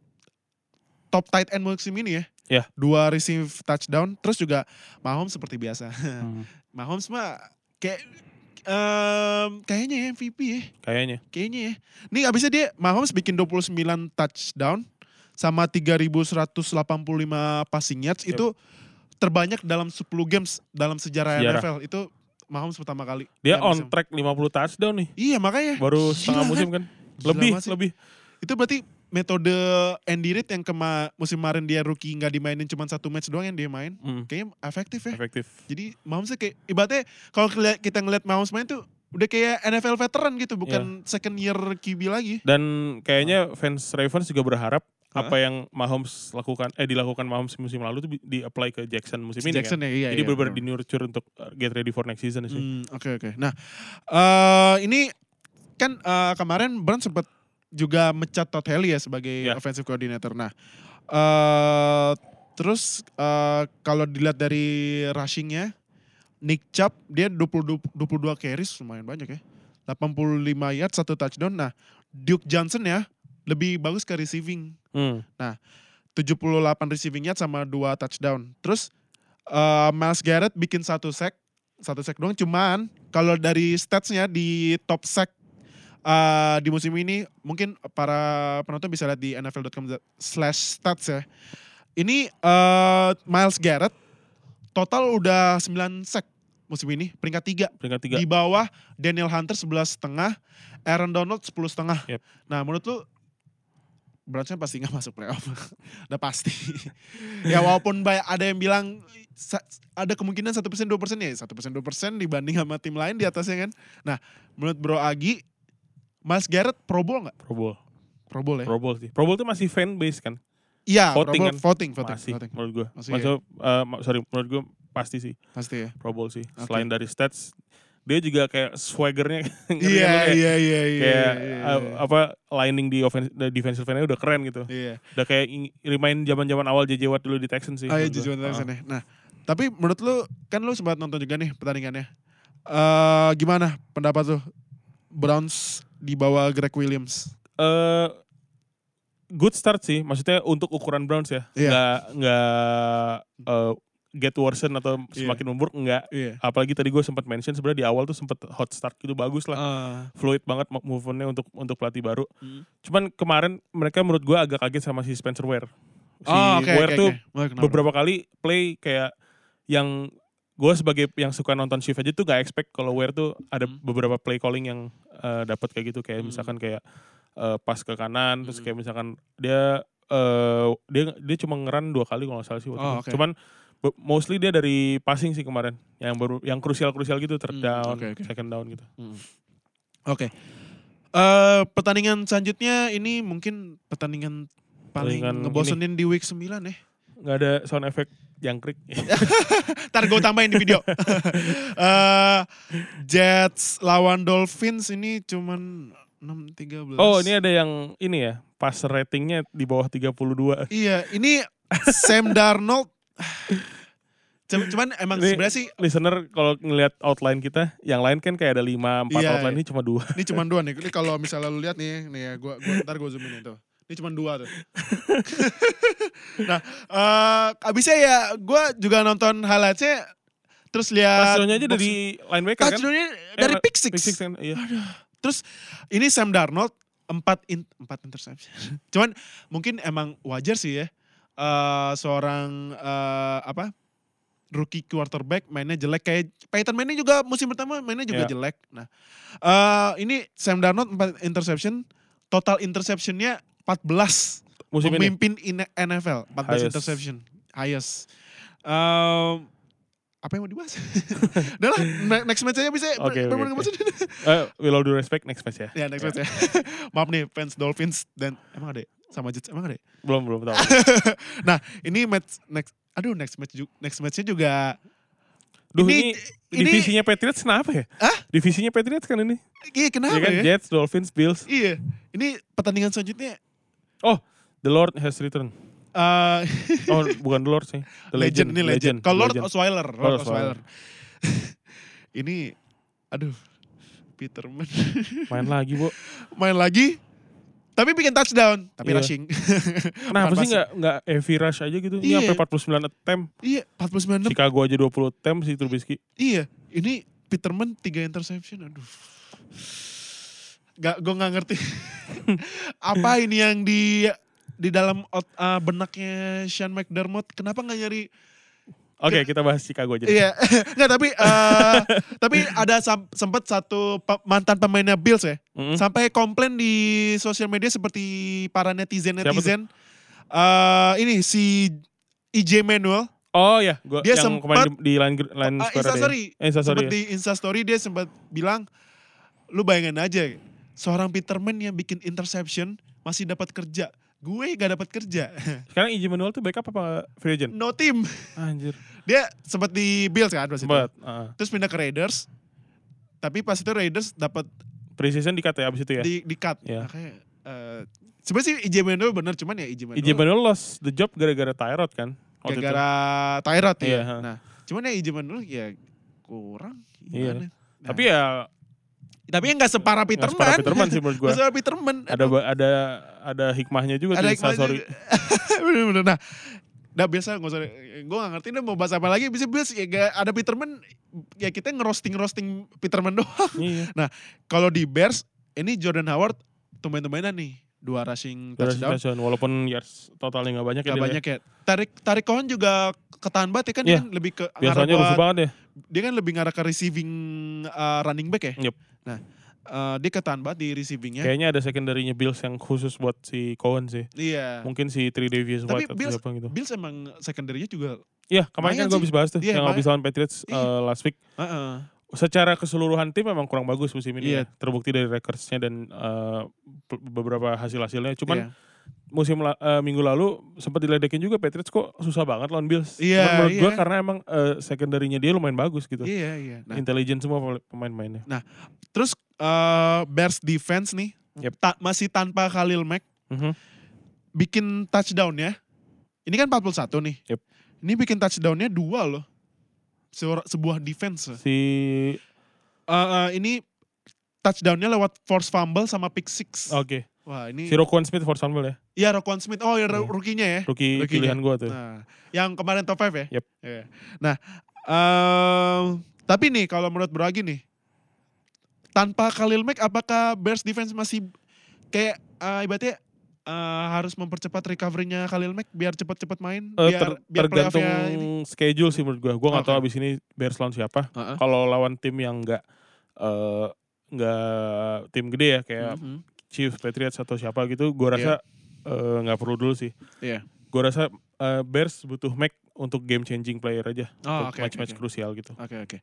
Speaker 1: top tight end musim ini ya.
Speaker 2: Iya.
Speaker 1: Dua receive touchdown, terus juga Mahomes seperti biasa.
Speaker 2: Hmm,
Speaker 1: Mahomes mah kayak em, kayaknya ya MVP ya,
Speaker 2: Kayaknya.
Speaker 1: kayaknya ya. Nih abisnya dia Mahomes bikin 29 touchdown sama 3185 passing yards
Speaker 2: Yep.
Speaker 1: itu terbanyak dalam 10 games dalam sejarah,
Speaker 2: Sejarah.
Speaker 1: NFL itu Mahomes pertama kali.
Speaker 2: Dia
Speaker 1: Yang
Speaker 2: on
Speaker 1: Iya, bisa-
Speaker 2: track 50 touchdown nih.
Speaker 1: Iya makanya.
Speaker 2: Baru
Speaker 1: Gila
Speaker 2: setengah
Speaker 1: kan?
Speaker 2: musim kan.
Speaker 1: Gila
Speaker 2: Lebih,
Speaker 1: banget sih.
Speaker 2: lebih.
Speaker 1: Itu berarti metode Andy Reid yang kema musim kemarin dia rookie nggak dimainin cuma satu match doang yang dia main.
Speaker 2: Hmm,
Speaker 1: Kayaknya efektif ya.
Speaker 2: efektif.
Speaker 1: Jadi Mahomes tuh kayak ibaratnya kalau keli- kita ngeliat Mahomes main tuh udah kayak NFL veteran gitu,
Speaker 2: Iya.
Speaker 1: bukan second year QB lagi.
Speaker 2: Dan kayaknya fans Ravens juga berharap apa yang Mahomes lakukan eh dilakukan Mahomes musim lalu itu di apply ke Jackson musim ini kan.
Speaker 1: Jackson ya, iya. iya,
Speaker 2: Jadi benar-benar
Speaker 1: bener.
Speaker 2: di nurture untuk uh, get ready for next season sih.
Speaker 1: Hmm, Oke oke. Nah eh, ini kan eh, kemarin Brown sempat juga mecat Todd Haley ya sebagai
Speaker 2: Ya.
Speaker 1: offensive coordinator. Nah eh, terus eh, kalau dilihat dari rushingnya Nick Chubb dia 20, 22 carries lumayan banyak ya. 85 yard satu touchdown. Nah Duke Johnson ya lebih bagus ke receiving.
Speaker 2: Hmm.
Speaker 1: 78 receiving yard sama dua touchdown. Terus eh, Miles Garrett bikin satu sack, satu sack doang. Cuman kalau dari statsnya di top sack eh, di musim ini mungkin para penonton bisa lihat di nfl.com/stats ya. Ini eh, Miles Garrett total udah 9 sack musim ini, peringkat tiga
Speaker 2: peringkat tiga.
Speaker 1: di bawah Daniel Hunter 11 setengah, Aaron Donald 10 setengah.
Speaker 2: Yep.
Speaker 1: Nah menurut lu Browns pasti nggak masuk playoff, udah pasti. ya walaupun ba- ada yang bilang sa- ada kemungkinan satu persen dua persen ya satu persen dua persen dibanding sama tim lain di atasnya kan. Nah menurut Bro Agi, Mas Garrett Pro Bowl nggak?
Speaker 2: Pro Bowl.
Speaker 1: Pro Bowl ya?
Speaker 2: Pro Bowl sih. Pro Bowl tuh masih fan base kan?
Speaker 1: Iya, Pro
Speaker 2: Voting
Speaker 1: Bowl,
Speaker 2: kan?
Speaker 1: voting, voting,
Speaker 2: masih
Speaker 1: voting.
Speaker 2: menurut gue.
Speaker 1: Masih iya.
Speaker 2: Masih, eh, ma- sorry menurut gue pasti sih
Speaker 1: pasti ya.
Speaker 2: Pro Bowl sih.
Speaker 1: Oke.
Speaker 2: Selain dari stats, dia juga kayak swaggernya.
Speaker 1: Iya,
Speaker 2: ngeri kan lu
Speaker 1: iya,
Speaker 2: kayak-
Speaker 1: iya, iya.
Speaker 2: Kayak
Speaker 1: iya,
Speaker 2: eh, apa lining di offense, di defensive line-nya udah keren gitu.
Speaker 1: Iya.
Speaker 2: Udah kayak ing- remind zaman-zaman awal JJ Watt dulu di Texans sih.
Speaker 1: Oh iya
Speaker 2: menurut
Speaker 1: Jujur
Speaker 2: gua.
Speaker 1: Anderson
Speaker 2: Ah.
Speaker 1: ya. Nah, tapi menurut lu kan lu sempat nonton juga nih pertandingannya. Eh gimana pendapat lu? Browns di bawah Greg Williams.
Speaker 2: Eh, good start sih. Maksudnya untuk ukuran Browns ya.
Speaker 1: Iya.
Speaker 2: Nggak nggak eh, get worsen atau semakin memburuk enggak.
Speaker 1: Iya.
Speaker 2: Apalagi tadi gue sempat mention sebenarnya di awal tuh sempat hot start gitu bagus
Speaker 1: Ah.
Speaker 2: lah. Fluid banget mo- movementnya untuk untuk pelatih baru.
Speaker 1: Hmm.
Speaker 2: Cuman kemarin mereka menurut gue agak kaget sama si Spencer Ware. Si
Speaker 1: oh, oke
Speaker 2: Ware
Speaker 1: oke,
Speaker 2: tuh
Speaker 1: oke. Wah, kenapa?
Speaker 2: beberapa kali play kayak yang gue sebagai yang suka nonton shift aja tuh gak expect kalau Ware tuh ada
Speaker 1: Hmm.
Speaker 2: beberapa play calling yang eh, dapat kayak gitu kayak
Speaker 1: Hmm.
Speaker 2: misalkan kayak eh, pas ke kanan terus
Speaker 1: Hmm.
Speaker 2: kayak misalkan dia eh, dia dia cuma ngeran dua kali kalau nggak salah sih waktu
Speaker 1: Oh,
Speaker 2: itu.
Speaker 1: oke.
Speaker 2: cuman bu- mostly dia dari passing sih kemarin yang baru yang krusial krusial gitu third
Speaker 1: Hmm,
Speaker 2: down
Speaker 1: oke, oke.
Speaker 2: second down gitu
Speaker 1: Hmm. Oke. Eh, pertandingan selanjutnya ini mungkin pertandingan paling
Speaker 2: Pertandingan
Speaker 1: ngebosenin di week 9 ya.
Speaker 2: nggak ada sound effect jangkrik
Speaker 1: Ntar gue tambahin di video. Eh Jets lawan Dolphins ini cuman 6-13.
Speaker 2: oh ini ada yang ini ya pas ratingnya di bawah 32
Speaker 1: Iya, ini Sam Darnold. Cuman, cuman emang
Speaker 2: Ini-
Speaker 1: sebenarnya sih
Speaker 2: listener kalau ngelihat outline kita, yang lain kan kayak ada lima, empat
Speaker 1: Iya,
Speaker 2: outline ini cuma dua.
Speaker 1: ini cuman dua nih. Ini kalau misalnya lu lihat nih, nih ya gua, gua ntar gue zoomin itu. Ini cuman dua tuh. nah, eh abisnya ya gua juga nonton highlightsnya terus lihat
Speaker 2: Touchdown-nya aja
Speaker 1: box-
Speaker 2: dari linebacker kan?
Speaker 1: touchdown-nya dari
Speaker 2: Eh,
Speaker 1: pick six.
Speaker 2: Pick six kan, iya.
Speaker 1: Terus ini Sam Darnold empat in, empat interception. Cuman mungkin emang wajar sih ya eh, seorang eh, apa rookie quarterback mainnya jelek kayak Peyton Manning juga musim pertama mainnya juga
Speaker 2: Iya.
Speaker 1: jelek. Nah eh, ini Sam Darnold empat interception total interceptionnya 14
Speaker 2: Musim ini.
Speaker 1: memimpin in NFL 14
Speaker 2: Highest.
Speaker 1: interception highest. Em, apa yang mau dibahas? Udah lah, ne- next match aja bisa.
Speaker 2: Oke, oke,
Speaker 1: Ber- ber-
Speaker 2: oke. Eh, with all due respect, next match ya.
Speaker 1: Ya next match ya. Maaf nih fans Dolphins dan emang ada ya? sama Jets emang ada. ya?
Speaker 2: Belum, belum tahu.
Speaker 1: Nah ini match next aduh next match ju- next matchnya juga
Speaker 2: Duh,
Speaker 1: Ini-
Speaker 2: ini,
Speaker 1: ini-
Speaker 2: divisinya Patriots kenapa ya?
Speaker 1: Hah?
Speaker 2: Divisinya Patriots kan ini.
Speaker 1: iya
Speaker 2: Iya
Speaker 1: kenapa
Speaker 2: kan?
Speaker 1: ya?
Speaker 2: Jets, Dolphins, Bills. Oh,
Speaker 1: Iya ini pertandingan selanjutnya
Speaker 2: The Lord has returned.
Speaker 1: eh
Speaker 2: Oh, bukan The Lord sih. The
Speaker 1: legend, ini legend. Kalau Lord
Speaker 2: Legend.
Speaker 1: Osweiler,
Speaker 2: Lord
Speaker 1: Lord Osweiler. ini aduh Peterman
Speaker 2: Main lagi, Bu.
Speaker 1: main lagi tapi bikin touchdown tapi
Speaker 2: Iya.
Speaker 1: rushing.
Speaker 2: Kenapa sih
Speaker 1: passing.
Speaker 2: nggak nggak heavy rush aja gitu?
Speaker 1: Iya.
Speaker 2: Ini sampai 49 attempt.
Speaker 1: iya, 49
Speaker 2: Chicago aja 20 attempt sih Trubisky.
Speaker 1: Iya, ini Peterman tiga interception, aduh. Gak, gue nggak ngerti apa ini yang di di dalam ot- uh, benaknya Sean McDermott. Kenapa nggak nyari?
Speaker 2: Oke, kita bahas Chicago aja. deh.
Speaker 1: Iya, nggak tapi uh, tapi ada sam- sempet satu pe- mantan pemainnya Bills ya,
Speaker 2: Mm-mm.
Speaker 1: sampai komplain di sosial media seperti para netizen
Speaker 2: Siapa tuh?
Speaker 1: netizen. Eh ini si EJ Manuel,
Speaker 2: Oh ya, gua
Speaker 1: Dia
Speaker 2: yang
Speaker 1: sempat-
Speaker 2: kemarin di, di line gr- line
Speaker 1: Ah,
Speaker 2: square ada ya.
Speaker 1: Instastory.
Speaker 2: Eh, Instastory
Speaker 1: Sempet
Speaker 2: ya.
Speaker 1: di instastory dia sempat bilang, lu bayangin aja, seorang Peterman yang bikin interception masih dapat kerja. Gue gak dapat kerja.
Speaker 2: Sekarang Iji Manuel tuh backup apa free agent?
Speaker 1: no team.
Speaker 2: Anjir.
Speaker 1: Dia sempat di Bills kan pas itu.
Speaker 2: Sempat. Uh,
Speaker 1: Terus pindah ke Raiders. Tapi pas itu Raiders dapat
Speaker 2: preseason di cut ya abis itu ya.
Speaker 1: di, di cut.
Speaker 2: Iya.
Speaker 1: Makanya, eh, sebenarnya sih IJ Manuel bener, cuman ya IJ Manuel
Speaker 2: Iji Manuel lost the job gara-gara Tyrod kan. waktu itu.
Speaker 1: gara-gara Tyrod ya.
Speaker 2: Iya, ha.
Speaker 1: Nah, cuman ya IJ Manuel ya kurang.
Speaker 2: Iya.
Speaker 1: gimana. Nah,
Speaker 2: Tapi ya
Speaker 1: Tapi nggak separah Peter
Speaker 2: Nggak separah
Speaker 1: Pan.
Speaker 2: Peterman sih menurut gua.
Speaker 1: Nggak separah Peter Pan.
Speaker 2: Ada ba- ada ada hikmahnya juga
Speaker 1: ada
Speaker 2: tuh
Speaker 1: hikmahnya
Speaker 2: Sasori.
Speaker 1: juga. Bener-bener. Nah, nah biasa nggak usah, gue gak ngerti deh mau bahas apa lagi. Bisa biasa ya, nggak- ada Peterman, ya kita ngerosting roasting Peterman doang.
Speaker 2: Iya.
Speaker 1: Kalau di Bears, ini Jordan Howard tumben-tumbenan nih dua rushing
Speaker 2: Terus
Speaker 1: touchdown.
Speaker 2: touchdown, walaupun yards totalnya nggak banyak ya.
Speaker 1: Gak
Speaker 2: dia ya.
Speaker 1: banyak ya. Tarik Tarik Cohen juga ketahan banget ya kan
Speaker 2: Iya.
Speaker 1: dia kan lebih ke
Speaker 2: Biasanya
Speaker 1: ngarah
Speaker 2: rusuh
Speaker 1: buat-
Speaker 2: banget ya.
Speaker 1: dia kan lebih ngarah ke receiving uh, running back ya.
Speaker 2: Yup.
Speaker 1: Nah, uh, dia ketahan banget di receivingnya.
Speaker 2: Kayaknya ada secondary-nya Bills yang khusus buat si Cohen sih.
Speaker 1: Iya.
Speaker 2: Mungkin si Three Davis
Speaker 1: Tapi
Speaker 2: White atau
Speaker 1: Bills-
Speaker 2: siapa gitu.
Speaker 1: Bills emang secondary-nya juga
Speaker 2: Iya, kemarin
Speaker 1: lumayan
Speaker 2: kan gue
Speaker 1: sih.
Speaker 2: habis bahas tuh
Speaker 1: Iya,
Speaker 2: yang habis lawan Patriots
Speaker 1: Iya.
Speaker 2: eh, last week.
Speaker 1: Heeh.
Speaker 2: Secara keseluruhan tim memang kurang bagus musim ini.
Speaker 1: Iya.
Speaker 2: ya. Terbukti dari recordsnya dan eh, pe- beberapa hasil-hasilnya. Cuman
Speaker 1: Iya.
Speaker 2: musim la- eh, minggu lalu sempat diledekin juga Patriots kok susah banget lawan Bills.
Speaker 1: Iya,
Speaker 2: Cuman menurut
Speaker 1: iya.
Speaker 2: gue karena emang eh, secondary-nya dia lumayan bagus gitu.
Speaker 1: Iya, iya. Nah,
Speaker 2: Intelijen semua pe- pemain-pemainnya.
Speaker 1: terus uh, Bears defense nih
Speaker 2: Yep.
Speaker 1: ta- masih tanpa Khalil Mack
Speaker 2: Mhm.
Speaker 1: bikin touchdown ya. Ini kan 41 nih.
Speaker 2: Yep.
Speaker 1: Ini bikin touchdownnya dua loh. Seor- sebuah defense. Uh,
Speaker 2: Si
Speaker 1: uh, ini touchdownnya lewat force fumble sama pick six.
Speaker 2: oke,
Speaker 1: Wah ini.
Speaker 2: si Roquan Smith for example ya.
Speaker 1: Iya Roquan Smith. Oh ya
Speaker 2: Iya.
Speaker 1: rukinya ya.
Speaker 2: Rookie,
Speaker 1: Rookie-nya.
Speaker 2: pilihan gue tuh.
Speaker 1: Nah, yang kemarin top 5 ya.
Speaker 2: Yep.
Speaker 1: Iya. Nah, em, tapi nih kalau menurut Bro Agi nih, tanpa Khalil Mack apakah Bears defense masih kayak eh, ibaratnya eh, harus mempercepat recovery-nya Khalil Mack biar cepat-cepat main,
Speaker 2: Eh,
Speaker 1: biar
Speaker 2: ter-
Speaker 1: biar
Speaker 2: tergantung
Speaker 1: playoff-nya ini.
Speaker 2: schedule sih menurut gue. Gue nggak
Speaker 1: Oke.
Speaker 2: tahu abis ini Bears lawan siapa.
Speaker 1: Heeh.
Speaker 2: Kalau lawan tim yang nggak eh, nggak tim gede ya kayak
Speaker 1: Mhm.
Speaker 2: Chiefs, Patriots atau siapa gitu, gue rasa eh, nggak perlu dulu sih.
Speaker 1: Iya.
Speaker 2: Gue rasa eh, Bears butuh Mac untuk game changing player aja,
Speaker 1: Oh,
Speaker 2: untuk
Speaker 1: oke. oke,
Speaker 2: match-match
Speaker 1: oke.
Speaker 2: krusial gitu.
Speaker 1: Oke, oke.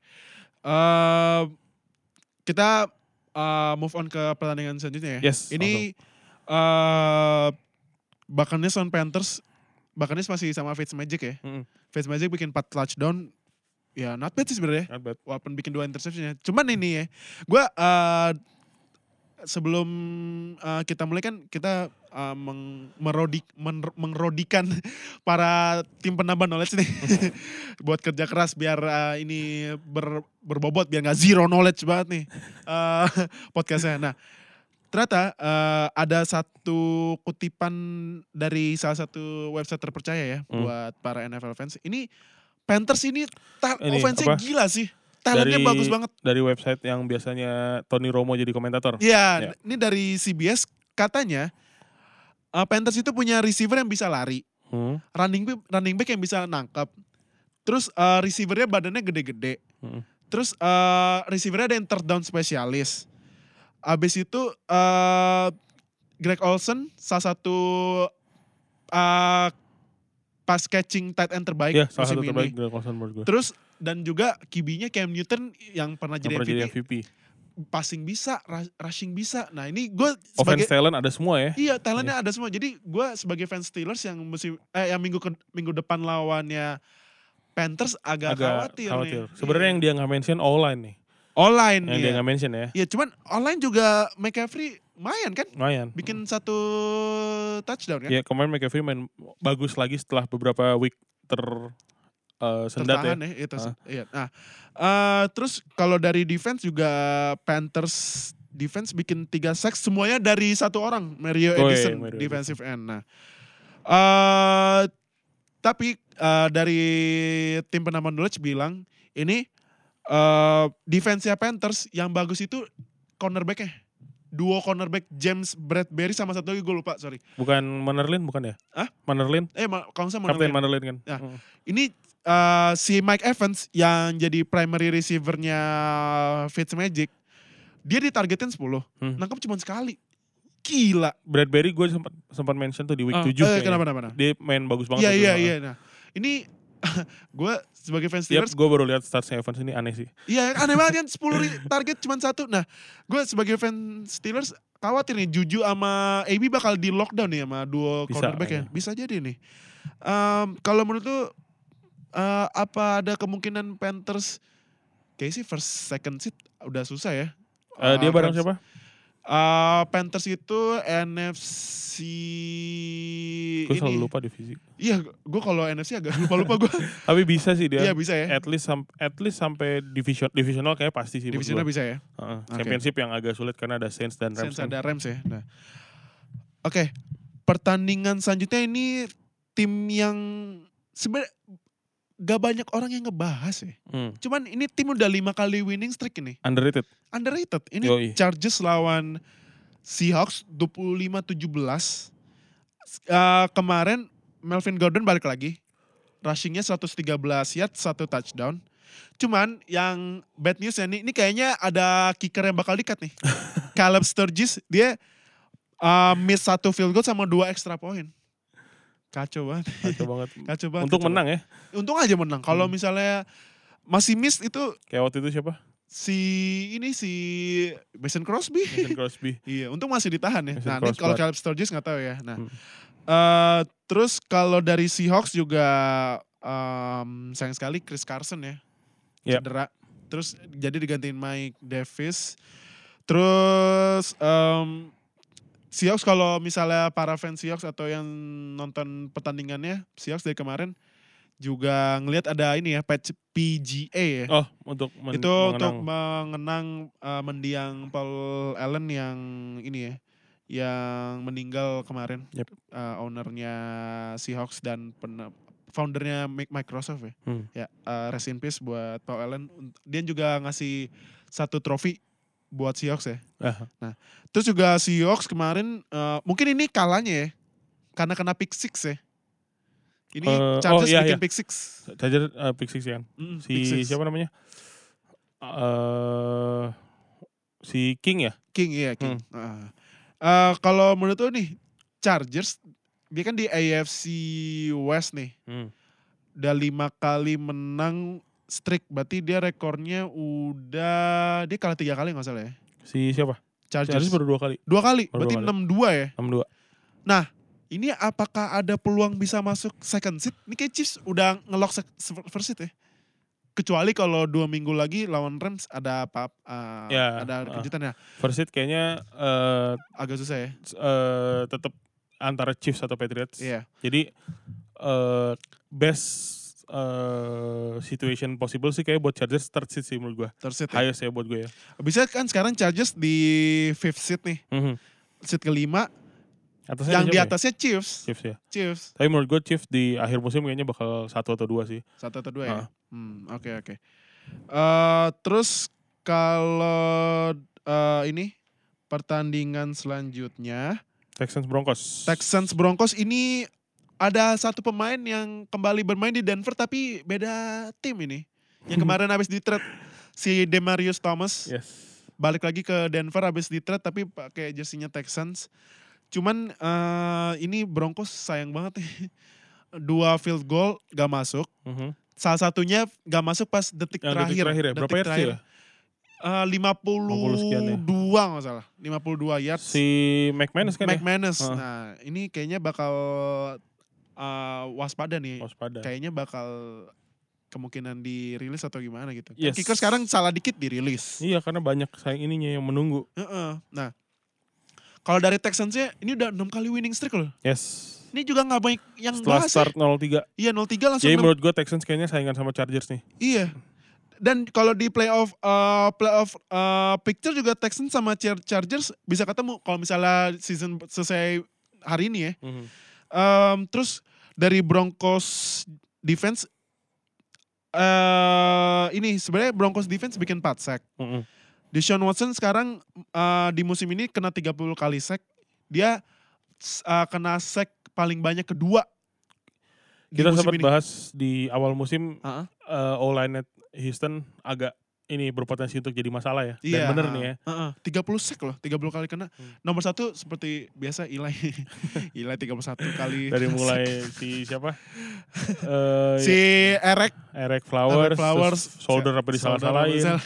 Speaker 1: Em, kita eh, move on ke pertandingan selanjutnya ya.
Speaker 2: Yes.
Speaker 1: Ini eh Buccaneers on Panthers. Buccaneers masih sama Fitzmagic ya.
Speaker 2: Mm-mm.
Speaker 1: Fitzmagic bikin 4 touchdown. Ya not bad sih sebenarnya.
Speaker 2: langsung. Not bad.
Speaker 1: Walaupun bikin dua interception ya. Cuman ini ya. Gue eh sebelum eh, kita mulai kan kita eh, meng- merodik, men- mengerodikan para tim penambah knowledge nih. Buat kerja keras biar eh, ini ber- berbobot. Biar gak zero knowledge banget nih. eh, podcastnya. Nah ternyata eh, ada satu kutipan dari salah satu website terpercaya ya
Speaker 2: Hmm.
Speaker 1: buat para NFL fans. Ini Panthers ini, ta-
Speaker 2: Ini
Speaker 1: offense-nya
Speaker 2: apa?
Speaker 1: gila sih. Talentnya
Speaker 2: Dari-
Speaker 1: bagus banget.
Speaker 2: Dari website yang biasanya Tony Romo jadi komentator.
Speaker 1: Iya,
Speaker 2: Ya.
Speaker 1: ini dari CBS katanya eh, Panthers itu punya receiver yang bisa lari,
Speaker 2: Hmm,
Speaker 1: running back, running back yang bisa nangkap. Terus eh, receivernya badannya gede-gede.
Speaker 2: Hmm.
Speaker 1: Terus eh, receivernya ada yang third down spesialis. Abis itu eh, Greg Olsen salah satu eh, pass catching tight end terbaik
Speaker 2: Iya, salah
Speaker 1: musim
Speaker 2: satu
Speaker 1: ini.
Speaker 2: terbaik Greg Olsen menurut gue.
Speaker 1: Terus dan juga kibinya Cam Newton yang pernah
Speaker 2: Yang
Speaker 1: jadi,
Speaker 2: pernah jadi
Speaker 1: MVP,
Speaker 2: MVP.
Speaker 1: passing bisa, ra- rushing bisa. Nah ini gue
Speaker 2: Offense
Speaker 1: sebagai
Speaker 2: talent ada semua ya.
Speaker 1: Iya, talentnya ada semua. Jadi gue sebagai fans Steelers yang musim eh yang minggu ke- minggu depan lawannya Panthers agak,
Speaker 2: Agak
Speaker 1: khawatir,
Speaker 2: khawatir.
Speaker 1: nih. Iya,
Speaker 2: Sebenarnya yang dia nggak mention online nih.
Speaker 1: online
Speaker 2: Yang dia
Speaker 1: iya.
Speaker 2: nggak mention ya.
Speaker 1: Iya, cuman online juga McCaffrey main kan?
Speaker 2: Lumayan.
Speaker 1: Bikin satu touchdown kan?
Speaker 2: Ya kemarin McAfee main bagus lagi setelah beberapa week ter eh, sendat ya.
Speaker 1: Tertahan ya. itu. Iya. Nah, eh, terus kalau dari defense juga Panthers defense bikin tiga sack semuanya dari satu orang Mario
Speaker 2: Oh, iya,
Speaker 1: Edison
Speaker 2: Mario
Speaker 1: defensive end. Nah, eh, tapi eh, dari tim penambah knowledge bilang ini eh defense Panthers yang bagus itu cornerbacknya duo cornerback James Bradbury sama satu lagi gue lupa sorry
Speaker 2: Bukan Manerlin bukan ya?
Speaker 1: Hah?
Speaker 2: Manerlin?
Speaker 1: eh ma- kalau nggak salah Manuel
Speaker 2: Kapten Manerlin kan?
Speaker 1: Ya.
Speaker 2: Mm.
Speaker 1: ini eh, si Mike Evans yang jadi primary receivernya Fitzmagic, dia ditargetin 10.
Speaker 2: Hmm.
Speaker 1: Nangkep cuma sekali. Gila.
Speaker 2: Bradbury gue sempat sempat mention tuh di week
Speaker 1: Ah,
Speaker 2: 7
Speaker 1: eh,
Speaker 2: kayaknya.
Speaker 1: kenapa-kenapa.
Speaker 2: Dia main bagus banget.
Speaker 1: Iya,
Speaker 2: tuh
Speaker 1: iya,
Speaker 2: tuh.
Speaker 1: iya. Nah, ini gue sebagai fans
Speaker 2: Yap,
Speaker 1: Steelers,
Speaker 2: gue baru lihat statsnya Evans ini aneh sih.
Speaker 1: iya aneh banget kan 10 ri- target cuma satu. Nah, gue sebagai fans Steelers khawatir nih Juju sama AB bakal di lockdown nih sama duo
Speaker 2: Bisa,
Speaker 1: cornerback ya.
Speaker 2: iya.
Speaker 1: Bisa jadi nih. Em, kalau menurut lu eh, apa ada kemungkinan Panthers kayak sih first second seat udah susah ya.
Speaker 2: Eh, dia
Speaker 1: Eh,
Speaker 2: bareng
Speaker 1: Rams-
Speaker 2: siapa?
Speaker 1: Eh, Panthers itu NFC
Speaker 2: Gue
Speaker 1: ini.
Speaker 2: selalu lupa divisi.
Speaker 1: Iya, gue kalau NFC agak lupa-lupa gue.
Speaker 2: Tapi bisa sih dia.
Speaker 1: Iya bisa ya.
Speaker 2: At least sam- at least sampai division divisional kayak pasti sih. menurut
Speaker 1: Divisinya
Speaker 2: gua.
Speaker 1: bisa ya.
Speaker 2: Heeh,
Speaker 1: Oke.
Speaker 2: Championship yang agak sulit karena ada Saints dan Rams.
Speaker 1: Saints
Speaker 2: kan.
Speaker 1: ada Rams ya. Nah. Oke, pertandingan selanjutnya ini tim yang sebenarnya gak banyak orang yang ngebahas ya.
Speaker 2: Hmm.
Speaker 1: Cuman ini tim udah lima kali winning streak ini.
Speaker 2: Underrated.
Speaker 1: Underrated. Ini
Speaker 2: Yoi.
Speaker 1: Chargers lawan Seahawks 25-17. Eh, kemarin Melvin Gordon balik lagi. Rushingnya 113 yard, satu touchdown. Cuman yang bad news ya nih, ini kayaknya ada kicker yang bakal dikat nih. Caleb Sturgis, dia eh, miss satu field goal sama dua extra point. Kacau banget,
Speaker 2: Kacau banget.
Speaker 1: kacau banget.
Speaker 2: Untuk
Speaker 1: kacau
Speaker 2: menang ya.
Speaker 1: banget. Untung aja menang. Kalau
Speaker 2: Hmm.
Speaker 1: misalnya masih miss itu
Speaker 2: Kayak waktu itu siapa?
Speaker 1: si ini si Mason Crosby.
Speaker 2: Mason Crosby.
Speaker 1: Iya, untung masih ditahan ya.
Speaker 2: Mason
Speaker 1: Nah, ini
Speaker 2: Crosby.
Speaker 1: kalau Caleb Sturgis nggak tahu ya. Nah,
Speaker 2: Hmm.
Speaker 1: eh, terus kalau dari Seahawks juga em, sayang sekali Chris Carson ya
Speaker 2: Yap.
Speaker 1: cedera. Terus jadi digantiin Mike Davis. Terus em, Seahawks kalau misalnya para fans Seahawks atau yang nonton pertandingannya Seahawks dari kemarin juga ngelihat ada ini ya patch PGA ya
Speaker 2: Oh, untuk men-
Speaker 1: itu untuk
Speaker 2: mengenang.
Speaker 1: mengenang uh, mendiang Paul Allen yang ini ya yang meninggal kemarin
Speaker 2: Yep.
Speaker 1: Uh, ownernya Seahawks dan pen- foundernya Mi- Microsoft ya
Speaker 2: Hmm.
Speaker 1: ya uh, rest in peace buat Paul Allen Unt- dia juga ngasih satu trofi buat Seahawks ya
Speaker 2: Ah,
Speaker 1: terus juga Seahawks kemarin uh, mungkin ini kalanya ya karena kena pick six ya ini
Speaker 2: Eh, oh,
Speaker 1: Chargers
Speaker 2: iya,
Speaker 1: bikin
Speaker 2: iya.
Speaker 1: pick six
Speaker 2: Charger eh, pick six ya kan.
Speaker 1: Mm, pick
Speaker 2: Si
Speaker 1: six.
Speaker 2: siapa namanya? eh si King ya?
Speaker 1: King iya King. Heeh. Eh, kalau menurut lu nih Chargers dia kan di AFC West nih.
Speaker 2: Hmm.
Speaker 1: Udah lima kali menang streak berarti dia rekornya udah dia kalah tiga kali nggak salah ya.
Speaker 2: Si siapa?
Speaker 1: Chargers,
Speaker 2: Chargers baru dua kali.
Speaker 1: dua kali
Speaker 2: baru
Speaker 1: berarti
Speaker 2: dua kali.
Speaker 1: enam dua ya.
Speaker 2: 6-2.
Speaker 1: Ini apakah ada peluang bisa masuk second seat? Ini kayak Chiefs udah ngelock sec- se- first seat ya. Kecuali kalau dua minggu lagi lawan Rams ada apa eh,
Speaker 2: Ya,
Speaker 1: ada
Speaker 2: ah.
Speaker 1: kejutan ya.
Speaker 2: First seed kayaknya eh
Speaker 1: Agak susah ya.
Speaker 2: s- eh, tetap antara Chiefs atau Patriots.
Speaker 1: Iya.
Speaker 2: Jadi eh best eh, situation possible sih kayak buat Chargers third seed sih menurut gue.
Speaker 1: Third seat ya.
Speaker 2: Highest ya buat gue ya.
Speaker 1: Bisa kan sekarang Chargers di fifth seat nih,
Speaker 2: Mhm.
Speaker 1: seat kelima. yang
Speaker 2: Atasnya ada
Speaker 1: di
Speaker 2: siapa ya?
Speaker 1: atasnya Chiefs.
Speaker 2: Chiefs ya.
Speaker 1: Chiefs
Speaker 2: Tapi menurut gue Chiefs di akhir musim kayaknya bakal satu atau dua sih.
Speaker 1: satu atau dua ya. Hmm, oke oke. Eh, terus kalau eh, ini pertandingan selanjutnya
Speaker 2: Texans Broncos.
Speaker 1: Texans Broncos ini ada satu pemain yang kembali bermain di Denver tapi beda tim ini. Yang kemarin habis di trade si Demarius Thomas.
Speaker 2: Yes.
Speaker 1: balik lagi ke Denver habis di trade tapi pakai jersinya Texans. Cuman eh, ini Broncos sayang banget nih. Dua field goal gak masuk.
Speaker 2: Mhm.
Speaker 1: Salah satunya gak masuk pas detik
Speaker 2: Yang
Speaker 1: terakhir.
Speaker 2: detik terakhir ya. Berapa
Speaker 1: Detik
Speaker 2: yards sih
Speaker 1: terakhir.
Speaker 2: ya?
Speaker 1: Eh,
Speaker 2: 50 sekian ya.
Speaker 1: 52 nggak salah. 52 yards.
Speaker 2: Si McManus kan ya?
Speaker 1: McManus.
Speaker 2: Heeh.
Speaker 1: Nah, ini kayaknya bakal eh, waspada nih.
Speaker 2: Waspada.
Speaker 1: Kayaknya bakal kemungkinan dirilis atau gimana gitu. Kan
Speaker 2: Yes.
Speaker 1: Kicker sekarang salah dikit dirilis.
Speaker 2: Iya karena banyak sayang ininya yang menunggu.
Speaker 1: Heeh. Nah, kalau dari Texansnya ini udah 6 kali winning streak loh.
Speaker 2: Yes.
Speaker 1: Ini juga nggak banyak yang
Speaker 2: Setelah
Speaker 1: bahas. ya.
Speaker 2: start 0-3.
Speaker 1: Iya 0-3 langsung.
Speaker 2: Jadi
Speaker 1: enam-
Speaker 2: menurut gue Texans kayaknya saingan sama Chargers nih.
Speaker 1: Iya. Dan kalau di playoff eh, playoff eh, picture juga Texans sama Char- Chargers bisa ketemu kalau misalnya season selesai hari ini ya. Em, terus dari Broncos defense eh ini sebenarnya Broncos defense bikin 4 sack.
Speaker 2: Mhm.
Speaker 1: Deshaun Watson sekarang uh, di musim ini kena 30 kali sack. Dia uh, kena sack paling banyak kedua. di
Speaker 2: Kita
Speaker 1: musim
Speaker 2: sempat
Speaker 1: ini.
Speaker 2: bahas di awal musim
Speaker 1: Heeh.
Speaker 2: eh O-line Houston agak ini berpotensi untuk jadi masalah ya. Dan
Speaker 1: Iya.
Speaker 2: bener nih ya.
Speaker 1: Heeh, 30 sack loh, 30 kali kena.
Speaker 2: Hmm.
Speaker 1: Nomor satu seperti biasa Ilai. Ilai 31 kali.
Speaker 2: Dari
Speaker 1: kena
Speaker 2: mulai
Speaker 1: sack.
Speaker 2: si siapa? Eh,
Speaker 1: si Erek
Speaker 2: Eric Flowers,
Speaker 1: Eric Flowers,
Speaker 2: terus shoulder apa disalah-salahin.
Speaker 1: Salah-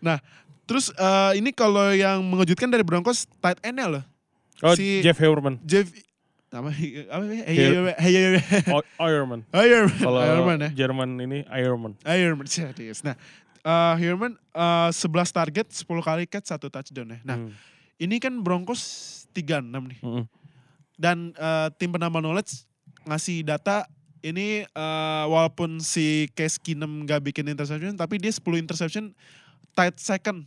Speaker 1: nah, terus uh, ini kalau yang mengejutkan dari Broncos tight end loh.
Speaker 2: Oh,
Speaker 1: si-
Speaker 2: Jeff Heurman.
Speaker 1: Jeff nama apa iya. ya?
Speaker 2: Hill.
Speaker 1: Hey, hey, hey, hey.
Speaker 2: O- Oh, Ironman.
Speaker 1: Iron Man.
Speaker 2: Kalau
Speaker 1: Iron Man ya. Ah, iya,
Speaker 2: Jerman ini Ironman.
Speaker 1: Iron Man, ah, serius. Nah, eh Herman eh, 11 target, 10 kali catch, 1 touchdown ya. Nah,
Speaker 2: Hmm.
Speaker 1: Ini kan Broncos 36 nih.
Speaker 2: Mm-mm.
Speaker 1: dan eh, tim penambah knowledge ngasih data ini eh, walaupun si Case Keenum gak bikin interception tapi dia 10 interception tight second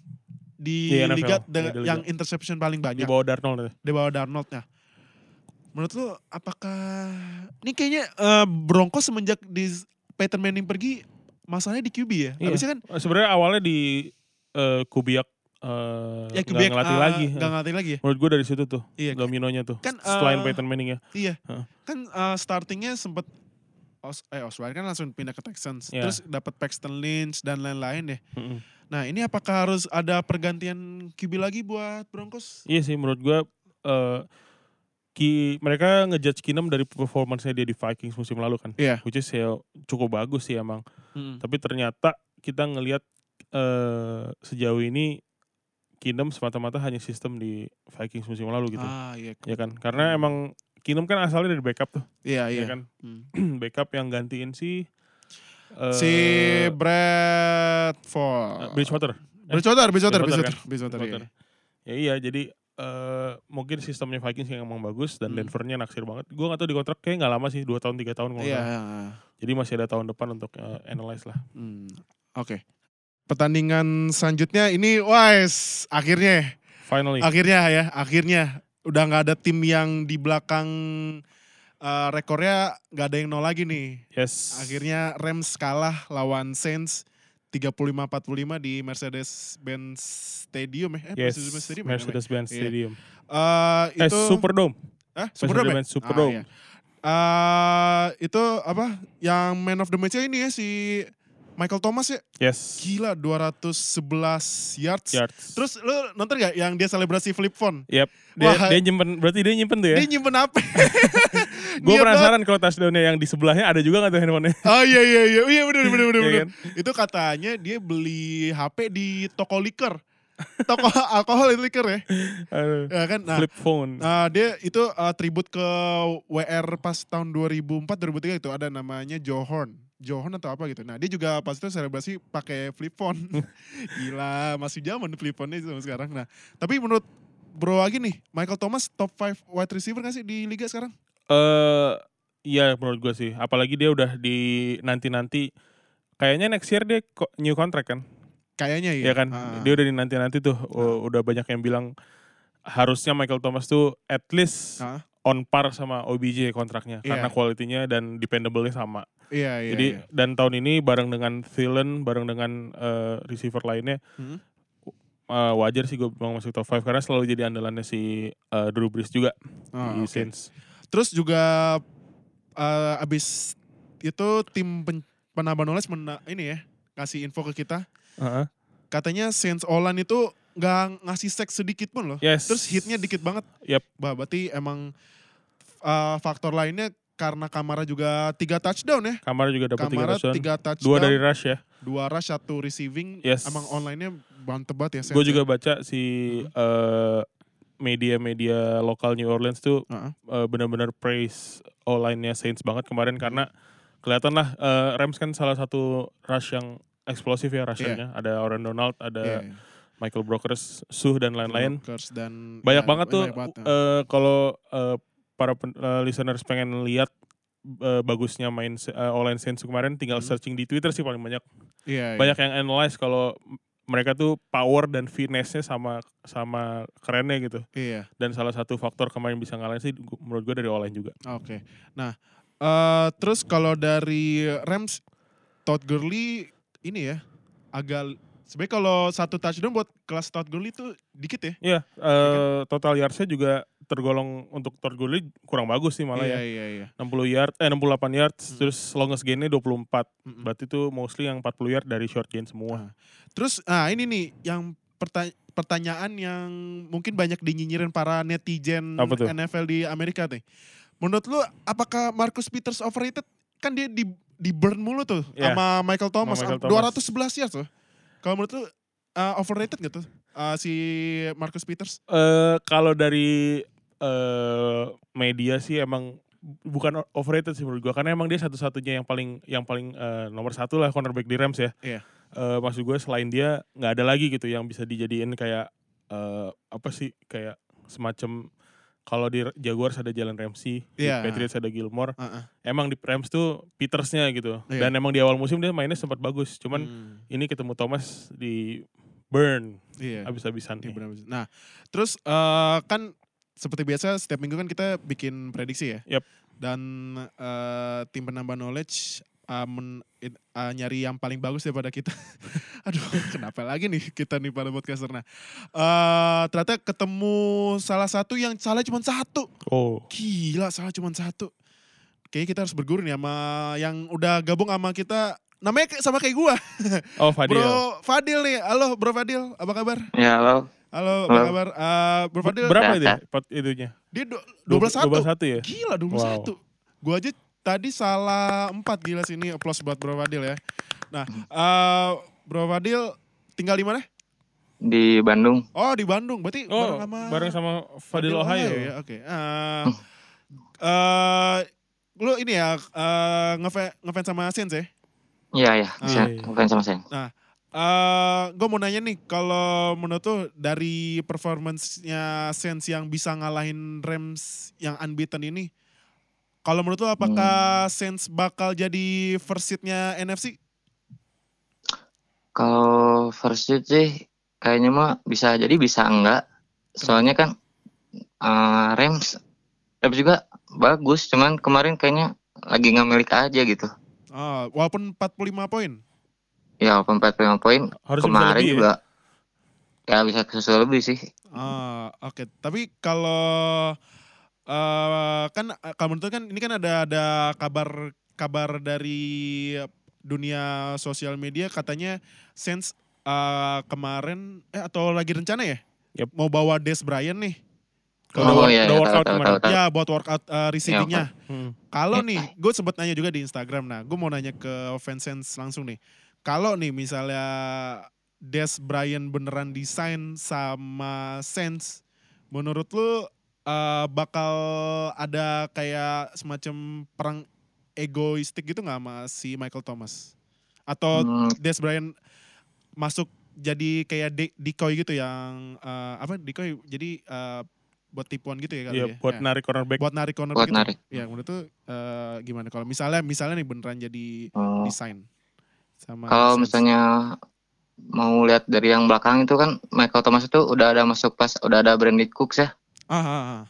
Speaker 1: di,
Speaker 2: Di NFL,
Speaker 1: liga
Speaker 2: iya,
Speaker 1: de-
Speaker 2: di liga.
Speaker 1: yang interception paling
Speaker 2: Di
Speaker 1: banyak
Speaker 2: bawah Darnold ya.
Speaker 1: di bawah Darnoldnya. Menurut lu apakah ini kayaknya eh, Broncos semenjak di Peyton Manning pergi masalahnya di QB ya?
Speaker 2: Iya.
Speaker 1: Habisnya kan
Speaker 2: Sebenarnya awalnya di eh, Kubiak eh,
Speaker 1: ya
Speaker 2: nggak
Speaker 1: QB
Speaker 2: ngelatih
Speaker 1: eh,
Speaker 2: lagi.
Speaker 1: nggak ngelatih lagi ya?
Speaker 2: Menurut gue dari situ tuh
Speaker 1: Iya.
Speaker 2: dominonya tuh.
Speaker 1: Kan,
Speaker 2: Selain
Speaker 1: eh,
Speaker 2: Peyton Manning ya.
Speaker 1: Iya.
Speaker 2: Heeh.
Speaker 1: Kan uh, startingnya sempet Os eh Osweiler kan langsung pindah ke Texans.
Speaker 2: Iya.
Speaker 1: Terus dapat Paxton Lynch dan lain-lain deh.
Speaker 2: Mm-mm.
Speaker 1: Nah, ini apakah harus ada pergantian QB lagi buat Broncos?
Speaker 2: Iya sih menurut gue eh ki mereka ngejudge Kinem dari performance-nya dia di Vikings musim lalu kan.
Speaker 1: Iya.
Speaker 2: Which is ya cukup bagus sih emang.
Speaker 1: Mm.
Speaker 2: Tapi ternyata kita ngelihat eh sejauh ini Kinem semata-mata hanya sistem di Vikings musim lalu gitu.
Speaker 1: Ah, iya.
Speaker 2: Ya kan? Karena emang Kinem kan asalnya dari backup tuh,
Speaker 1: Iya,
Speaker 2: ya
Speaker 1: iya.
Speaker 2: kan?
Speaker 1: Mm.
Speaker 2: backup yang gantiin si eh,
Speaker 1: Si
Speaker 2: eh,
Speaker 1: Bradford.
Speaker 2: Bridgewater.
Speaker 1: Bridgewater, Bridgewater,
Speaker 2: Bridgewater kan?
Speaker 1: Bridgewater, Bridgewater, iya.
Speaker 2: Bridgewater. Ya iya, jadi eh, mungkin sistemnya Vikings yang emang bagus dan
Speaker 1: Hmm.
Speaker 2: Denvernya naksir banget. Gue gak tahu di kontrak kayak nggak lama sih, 2 tahun 3 tahun kalau
Speaker 1: Iya.
Speaker 2: nggak salah. Jadi masih ada tahun depan untuk eh, analyze lah.
Speaker 1: Mm. Oke. Pertandingan selanjutnya ini wise akhirnya.
Speaker 2: Finally.
Speaker 1: Akhirnya ya, akhirnya udah nggak ada tim yang di belakang eh, rekornya nggak ada yang nol lagi nih.
Speaker 2: yes.
Speaker 1: Akhirnya Rams kalah lawan Saints 35-45 di Mercedes-Benz Stadium ya. Eh,
Speaker 2: Yes.
Speaker 1: Mercedes-Benz Stadium. ya namanya?
Speaker 2: Mercedes-Benz
Speaker 1: Iya.
Speaker 2: Stadium.
Speaker 1: Eh,
Speaker 2: Eh,
Speaker 1: itu
Speaker 2: Superdome.
Speaker 1: eh, Superdome. ya?
Speaker 2: Mercedes-Benz
Speaker 1: Ah,
Speaker 2: Superdome.
Speaker 1: iya. Eh, itu apa? Yang man of the match ini ya si Michael Thomas ya.
Speaker 2: Yes.
Speaker 1: Gila 211 yards.
Speaker 2: Yards.
Speaker 1: Terus lu nonton gak yang dia selebrasi flip phone?
Speaker 2: Yep. Dia,
Speaker 1: Wah.
Speaker 2: dia nyimpen, berarti dia nyimpen tuh ya.
Speaker 1: Dia iya, nyimpen apa?
Speaker 2: Gue
Speaker 1: Niat
Speaker 2: penasaran kalau touchdownnya yang di sebelahnya ada juga nggak tuh handphonenya?
Speaker 1: banget. Oh iya iya iya, iya bener bener bener.
Speaker 2: Iya
Speaker 1: bener.
Speaker 2: kan?
Speaker 1: Itu katanya dia beli HP di toko liker. Toko alkohol itu liker ya.
Speaker 2: Aduh.
Speaker 1: Ya kan? Nah,
Speaker 2: Flip phone.
Speaker 1: nah, dia itu uh, tribut ke WR pas tahun 2004 2003 itu gitu. ada namanya Johorn. Johorn atau apa gitu. Nah, dia juga pas itu selebrasi pakai flip phone. Gila, masih zaman flip phone-nya itu sama sekarang. Nah, tapi menurut Bro lagi nih, Michael Thomas top 5 wide receiver gak sih di liga sekarang?
Speaker 2: eh iya menurut gue sih. Apalagi dia udah di nanti-nanti. Kayaknya next year dia ko- new contract kan,
Speaker 1: Kayaknya ya.
Speaker 2: ya kan?
Speaker 1: Ah.
Speaker 2: Dia udah di nanti-nanti tuh. u- Udah banyak yang bilang harusnya Michael Thomas tuh at least
Speaker 1: Ah.
Speaker 2: on par sama OBJ kontraknya
Speaker 1: Iya.
Speaker 2: karena kualitinya dan dependable-nya sama.
Speaker 1: Iya, iya.
Speaker 2: Jadi
Speaker 1: iya.
Speaker 2: dan tahun ini bareng dengan Thielen, bareng dengan eh, receiver lainnya
Speaker 1: Hmm.
Speaker 2: eh, wajar sih gue bilang masuk top 5 karena selalu jadi andalannya si eh, Drew Brees juga
Speaker 1: Ah,
Speaker 2: di
Speaker 1: oke.
Speaker 2: Saints.
Speaker 1: Terus juga eh, abis itu tim pen, penambah knowledge mena- ini ya kasih info ke kita
Speaker 2: Heeh.
Speaker 1: katanya Saints Olan itu nggak ngasih seks sedikit pun loh.
Speaker 2: Yes.
Speaker 1: Terus hitnya dikit banget.
Speaker 2: Yap.
Speaker 1: Bah, berarti emang eh, faktor lainnya karena Kamara juga tiga touchdown ya.
Speaker 2: Kamara juga dapat tiga
Speaker 1: Kamara
Speaker 2: touchdown.
Speaker 1: tiga touchdown,
Speaker 2: Dua dari Rush ya.
Speaker 1: dua rush, satu receiving.
Speaker 2: Yes.
Speaker 1: Emang online-nya mantep banget ya. Saints
Speaker 2: Gue
Speaker 1: ya.
Speaker 2: juga baca si eh, media-media lokal New Orleans tuh
Speaker 1: Heeh.
Speaker 2: eh, benar-benar praise O-line-nya Saints banget kemarin
Speaker 1: Hmm.
Speaker 2: karena kelihatan lah eh, Rams kan salah satu rush yang eksplosif ya rushnya. Ada Aaron Donald,
Speaker 1: Iya,
Speaker 2: ada
Speaker 1: iya.
Speaker 2: Michael Brokers, Suh dan lain-lain.
Speaker 1: Brokers dan
Speaker 2: Banyak
Speaker 1: ya,
Speaker 2: banget tuh
Speaker 1: banget.
Speaker 2: eh, kalau eh, para pen- eh, listeners pengen lihat eh, bagusnya main se- eh, O-line Saints kemarin tinggal
Speaker 1: Hmm.
Speaker 2: searching di Twitter sih paling banyak.
Speaker 1: Iya, iya.
Speaker 2: banyak yang analyze kalau m- mereka tuh power dan finesse-nya sama sama kerennya gitu.
Speaker 1: Iya.
Speaker 2: Dan salah satu faktor kemarin bisa ngalahin sih gu- menurut gue dari online juga.
Speaker 1: Oke. Nah, eh terus kalau dari Rams Todd Gurley ini ya agak sebenarnya kalau satu touchdown buat kelas Todd Gurley itu dikit ya.
Speaker 2: Iya, eh, total yards-nya juga tergolong untuk Todd Gurley kurang bagus sih malah
Speaker 1: iya,
Speaker 2: ya.
Speaker 1: iya, iya.
Speaker 2: 60 yard, eh 68 yards,
Speaker 1: Hmm.
Speaker 2: terus longest gain-nya 24.
Speaker 1: Mm-mm.
Speaker 2: Berarti itu mostly yang 40 yard dari short gain semua.
Speaker 1: Terus ah ini nih yang perta- pertanyaan yang mungkin banyak dinyinyirin para netizen
Speaker 2: Apa tuh?
Speaker 1: NFL di Amerika nih. Menurut lu apakah Marcus Peters overrated? Kan dia di di burn mulu tuh
Speaker 2: Iya.
Speaker 1: sama Michael Thomas,
Speaker 2: Michael
Speaker 1: am-
Speaker 2: Thomas.
Speaker 1: 211 yards tuh. Kalau menurut lu uh, overrated gitu si Marcus Peters?
Speaker 2: Eh kalau dari eh media sih emang bu- bukan o- overrated sih menurut gua karena emang dia satu-satunya yang paling yang paling eh, nomor satu lah cornerback di Rams ya.
Speaker 1: Iya.
Speaker 2: Eh, maksud gue selain dia nggak ada lagi gitu yang bisa dijadiin kayak eh, apa sih kayak semacam kalau di Jaguars ada Jalen Ramsey,
Speaker 1: Iya.
Speaker 2: di Patriots ada Gilmore.
Speaker 1: Heeh.
Speaker 2: Emang di Rams tuh Petersnya gitu.
Speaker 1: Iya.
Speaker 2: Dan emang di awal musim dia mainnya sempat bagus. Cuman
Speaker 1: Hmm,
Speaker 2: ini ketemu Thomas di burn
Speaker 1: iya.
Speaker 2: habis-habisan.
Speaker 1: Iya,
Speaker 2: nih.
Speaker 1: benar-benar. Nah, terus eh, kan seperti biasa setiap minggu kan kita bikin prediksi ya.
Speaker 2: Yap.
Speaker 1: Dan eh, tim penambah knowledge eh, men- in- eh, nyari yang paling bagus daripada kita. Aduh, kenapa lagi nih kita nih para podcaster. Nah, eh, ternyata ketemu salah satu yang salah cuma satu.
Speaker 2: Oh,
Speaker 1: Gila, salah cuma satu. Kayaknya kita harus berguru nih sama yang udah gabung sama kita. Namanya kayak- sama kayak gua.
Speaker 2: oh Fadil.
Speaker 1: Bro Fadil nih. Halo Bro Fadil, apa kabar?
Speaker 3: Ya halo.
Speaker 1: Halo, apa
Speaker 3: Halo.
Speaker 1: kabar? Eh, Bro Fadil,
Speaker 2: Berapa itu?
Speaker 3: Data.
Speaker 2: Pot itunya?
Speaker 1: dia do- 12-1.
Speaker 2: 21 ya?
Speaker 1: Gila 21. Gua aja tadi salah 4 gila sini. Applause buat Bro Fadil ya. Nah, eh, Bro Fadil tinggal di mana?
Speaker 3: Di Bandung.
Speaker 1: Oh, di Bandung. Berarti bareng
Speaker 2: Oh,
Speaker 1: sama
Speaker 2: bareng sama Fadil Ohio.
Speaker 1: ya. Oke. Eh, eh, lu ini ya eh, ngefa- ngefans sama Saints ya?
Speaker 3: Iya ya.
Speaker 2: Ah,
Speaker 3: Bisa.
Speaker 2: iya.
Speaker 3: Bukan sama saya.
Speaker 1: Eh, gue mau nanya nih, kalau menurut tuh dari performance-nya Saints yang bisa ngalahin Rams yang unbeaten ini, kalau menurut lo apakah Saints bakal jadi first seed-nya NFC?
Speaker 3: Kalau first seed sih kayaknya mah bisa jadi bisa enggak. Soalnya kan eh, Rams Rams juga bagus, cuman kemarin kayaknya lagi nggak milik aja gitu.
Speaker 1: Ah, walaupun 45 poin.
Speaker 3: Ya walaupun 45 poin
Speaker 2: Harus
Speaker 3: kemarin
Speaker 2: lebih ya?
Speaker 3: juga ya. bisa kesusul lebih sih.
Speaker 1: Ah, oke. Tapi kalau eh kan eh, kalau menurut lo kan ini kan ada ada kabar kabar dari dunia sosial media katanya Saints eh, kemarin eh atau lagi rencana ya?
Speaker 2: Yep.
Speaker 1: Mau bawa Des Bryant nih.
Speaker 2: Kalau
Speaker 3: Oh, iya,
Speaker 2: udah
Speaker 3: iya,
Speaker 2: workout
Speaker 3: tahu, tahu,
Speaker 2: kemarin.
Speaker 3: tahu, tahu.
Speaker 1: Ya buat workout eh, receiving-nya.
Speaker 2: Hmm.
Speaker 1: Kalau
Speaker 3: Ya.
Speaker 1: nih, gue sempet nanya juga di Instagram. Nah, gue mau nanya ke fans Saints langsung nih. Kalau nih misalnya Des Bryant beneran desain sama Saints, menurut lu eh, bakal ada kayak semacam perang egoistik gitu nggak sama si Michael Thomas? Atau
Speaker 3: Hmm,
Speaker 1: Des Bryant masuk jadi kayak de- decoy gitu yang eh, apa decoy? Jadi eh, buat tipuan gitu ya kali
Speaker 2: Iya,
Speaker 1: ya? Ya
Speaker 2: buat narik cornerback.
Speaker 1: buat narik corner
Speaker 3: buat
Speaker 1: gitu.
Speaker 3: narik.
Speaker 1: Ya menurut tuh eh, gimana kalau misalnya misalnya nih beneran jadi
Speaker 3: Oh.
Speaker 1: desain sama
Speaker 3: Kalau
Speaker 1: Saints.
Speaker 3: misalnya mau lihat dari yang belakang itu kan Michael Thomas itu udah ada masuk pas udah ada Brandon Cooks ya.
Speaker 1: ah, ah, ah.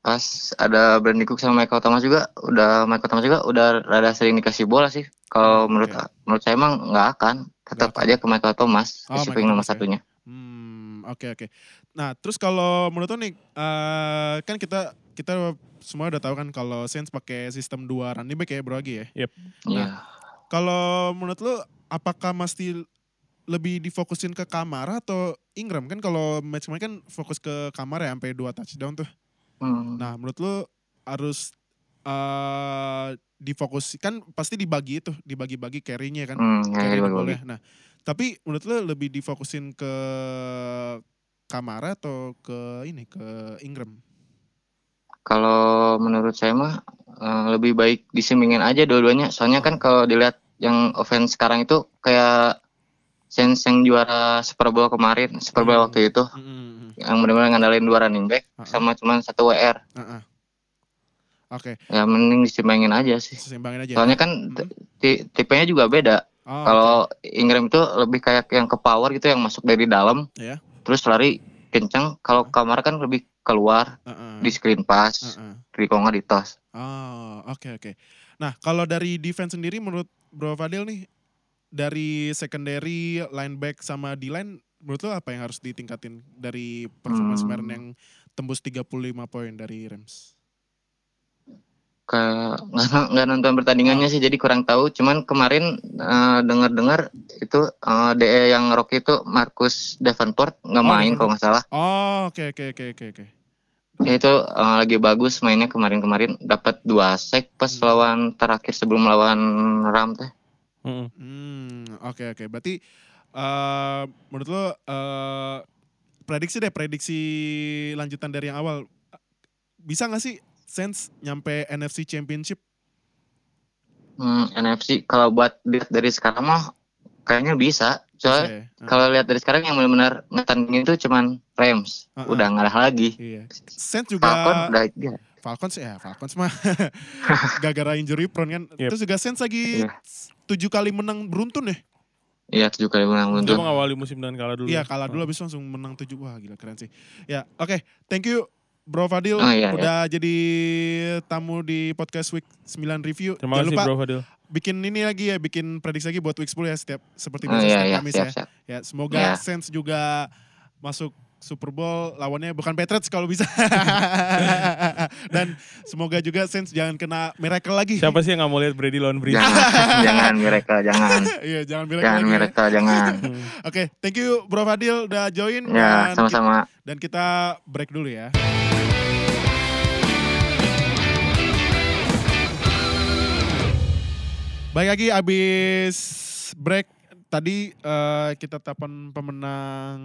Speaker 3: Pas ada Brandon Cooks sama Michael Thomas juga udah Michael Thomas juga udah rada sering dikasih bola sih. Kalau
Speaker 1: Hmm,
Speaker 3: menurut menurut saya emang nggak akan tetap
Speaker 1: Nggak akan.
Speaker 3: aja ke Michael Thomas
Speaker 1: Oh, Michael
Speaker 3: receiving nomor
Speaker 1: Thomas ya.
Speaker 3: satunya.
Speaker 1: Hmm, oke oke. Nah, terus kalau menurut lo nih eh, kan kita kita semua udah tahu kan kalau Saints pakai sistem dua running back ya Bro Agi ya.
Speaker 3: Iya.
Speaker 1: Kalau menurut lu apakah mesti lebih difokusin ke Kamara atau Ingram kan kalau match kemarin kan fokus ke Kamara ya sampai dua touchdown tuh.
Speaker 3: Hmm.
Speaker 1: Nah, menurut lu harus eh difokuskan pasti dibagi itu, dibagi-bagi carry-nya kan.
Speaker 3: Hmm, ya,
Speaker 1: Carry
Speaker 3: dibagi-bagi.
Speaker 1: boleh. Nah, tapi menurut lu lebih difokusin ke Kamara atau ke ini ke Ingram?
Speaker 3: Kalau menurut saya mah eh, lebih baik disembingin aja dua-duanya. Soalnya kan kalau dilihat yang offense sekarang itu kayak Saints yang juara Super Bowl kemarin, Super Bowl
Speaker 1: Hmm.
Speaker 3: waktu itu yang benar-benar ngandalin dua running back
Speaker 1: Ah, ah.
Speaker 3: sama cuman satu WR.
Speaker 1: Ah, ah. Oke,
Speaker 3: Ya mending disembingin aja sih.
Speaker 1: seimbangin aja.
Speaker 3: Soalnya kan t- ti- tipenya juga
Speaker 1: Iya.
Speaker 3: beda.
Speaker 1: Hmm. Oh,
Speaker 3: Kalau Ingram itu lebih kayak yang ke power gitu yang masuk dari dalam.
Speaker 1: Iya.
Speaker 3: Terus lari kenceng. Kalau Kamara kan lebih keluar
Speaker 1: oke. Ah, ah.
Speaker 3: di screen pass,
Speaker 1: Ah, ah.
Speaker 3: di kalau nggak di toss.
Speaker 1: Oh, oke oke. Nah, kalau dari defense sendiri menurut Bro Fadil nih dari secondary, lineback sama D-line menurut lo apa yang harus ditingkatin dari performance
Speaker 3: Hmm.
Speaker 1: kemarin yang tembus 35 poin dari Rams?
Speaker 3: ke nggak nggak nonton pertandingannya sih jadi kurang tahu cuman kemarin eh, dengar-dengar itu eh, DE yang Rocky itu Marcus Davenport nggak
Speaker 1: Oh,
Speaker 3: main
Speaker 1: Davenport.
Speaker 3: kalau nggak salah
Speaker 1: Oh, oke oke oke oke oke.
Speaker 3: ya itu eh, lagi bagus mainnya kemarin-kemarin dapat dua sack pas
Speaker 1: Hmm.
Speaker 3: lawan terakhir sebelum lawan Ram teh
Speaker 2: Mm-mm.
Speaker 1: Hmm, oke oke. Berarti eh, menurut lo eh, prediksi deh prediksi lanjutan dari yang awal bisa nggak sih sense nyampe NFC Championship?
Speaker 3: Hmm, NFC kalau buat dilihat dari sekarang mah kayaknya bisa Soalnya
Speaker 1: Iya, iya.
Speaker 3: kalau lihat dari sekarang yang benar-benar ngetandingin tuh cuman Rams.
Speaker 1: Heeh.
Speaker 3: Udah ngalah lagi.
Speaker 1: Iya. Saints juga
Speaker 3: Falcon udah ya.
Speaker 1: Falcons ya Falcons mah gara-gara injury prone kan.
Speaker 2: Yep.
Speaker 1: Terus juga Saints lagi
Speaker 3: Iya.
Speaker 1: tujuh kali menang beruntun ya.
Speaker 3: Iya, 7 kali menang
Speaker 2: Dia
Speaker 3: beruntun.
Speaker 2: mengawali musim dengan kalah dulu. Hmm.
Speaker 1: Iya kalah dulu habis langsung menang tujuh. Wah gila keren sih. Ya oke thank you Bro Fadil
Speaker 3: Oh, iya,
Speaker 1: udah jadi tamu di podcast week 9 review.
Speaker 2: Terima
Speaker 1: Jangan
Speaker 2: kasih
Speaker 1: lupa
Speaker 2: Bro Fadil.
Speaker 1: bikin ini lagi ya bikin prediksi lagi buat week 10 ya setiap seperti
Speaker 3: Oh
Speaker 1: biasa
Speaker 3: iya,
Speaker 1: setiap
Speaker 3: iya,
Speaker 1: Kamis ya.
Speaker 3: siap, siap.
Speaker 1: Ya, semoga
Speaker 3: Ya.
Speaker 1: Saints juga masuk Super Bowl lawannya bukan Patriots kalau bisa. Dan semoga juga Saints jangan kena miracle lagi.
Speaker 2: Siapa sih yang nggak mau lihat Brady lawan Brady?
Speaker 3: Jangan, jangan mereka, jangan.
Speaker 1: Iya, jangan miracle
Speaker 3: Jangan
Speaker 1: lagi. ya.
Speaker 3: mereka, jangan.
Speaker 2: Hmm.
Speaker 1: Oke, thank you Bro Fadil udah join
Speaker 3: Ya,
Speaker 1: dan,
Speaker 3: sama-sama.
Speaker 1: dan kita break dulu ya. Baik lagi abis break tadi eh, kita tapan pemenang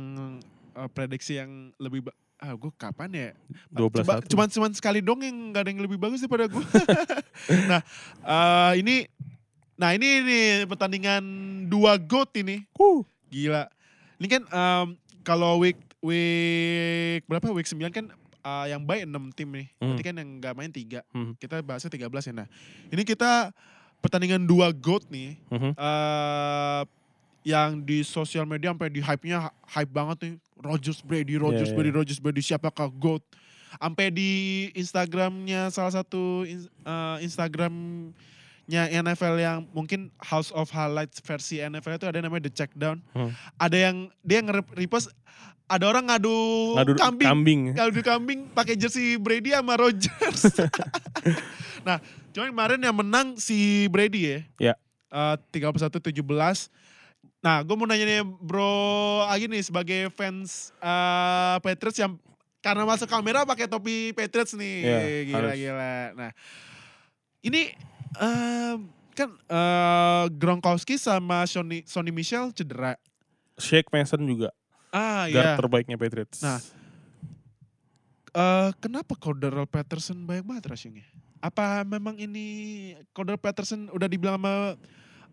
Speaker 1: eh, prediksi yang lebih ba- ah gue kapan ya
Speaker 2: 12
Speaker 1: Coba,
Speaker 2: satu.
Speaker 1: cuman cuman sekali dong yang gak ada yang lebih bagus daripada gue nah eh, ini nah ini nih pertandingan dua goat ini
Speaker 2: Wuh.
Speaker 1: gila ini kan em, kalau week week berapa week 9 kan eh, yang baik 6 tim nih
Speaker 2: Hmm.
Speaker 1: nanti kan yang gak main 3
Speaker 2: Hmm.
Speaker 1: kita bahasnya 13 ya nah ini kita pertandingan dua goat nih
Speaker 2: Mhm.
Speaker 1: eh yang di sosial media sampai di hype-nya hype banget nih. Rogers Brady, Rogers
Speaker 2: Iya,
Speaker 1: Brady, Rogers Brady siapakah GOAT? Sampai di Instagramnya salah satu in- eh, Instagramnya NFL yang mungkin House of Highlights versi NFL itu ada yang namanya The Checkdown.
Speaker 2: Hmm.
Speaker 1: Ada yang dia nge-repost ada orang ngadu,
Speaker 2: Ngadu
Speaker 1: kambing.
Speaker 2: kambing.
Speaker 1: Ngadu kambing pakai jersey Brady sama Rogers. nah, cuman kemarin yang menang si Brady ya.
Speaker 2: Ya.
Speaker 1: Eh, 31-17. Nah, gue mau nanya nih bro Agi nih sebagai fans eh, Patriots yang karena masuk kamera pakai topi Patriots nih.
Speaker 2: Iya, harus.
Speaker 1: Gila-gila. Nah, ini eh, kan eh, Gronkowski sama Sony, Sony Michel cedera.
Speaker 2: Shake Mason juga.
Speaker 1: Ah
Speaker 2: Guard
Speaker 1: iya.
Speaker 2: terbaiknya Patriots.
Speaker 1: Nah. Eh, kenapa Cordero Patterson banyak banget rushingnya? Apa memang ini Cordero Patterson udah dibilang sama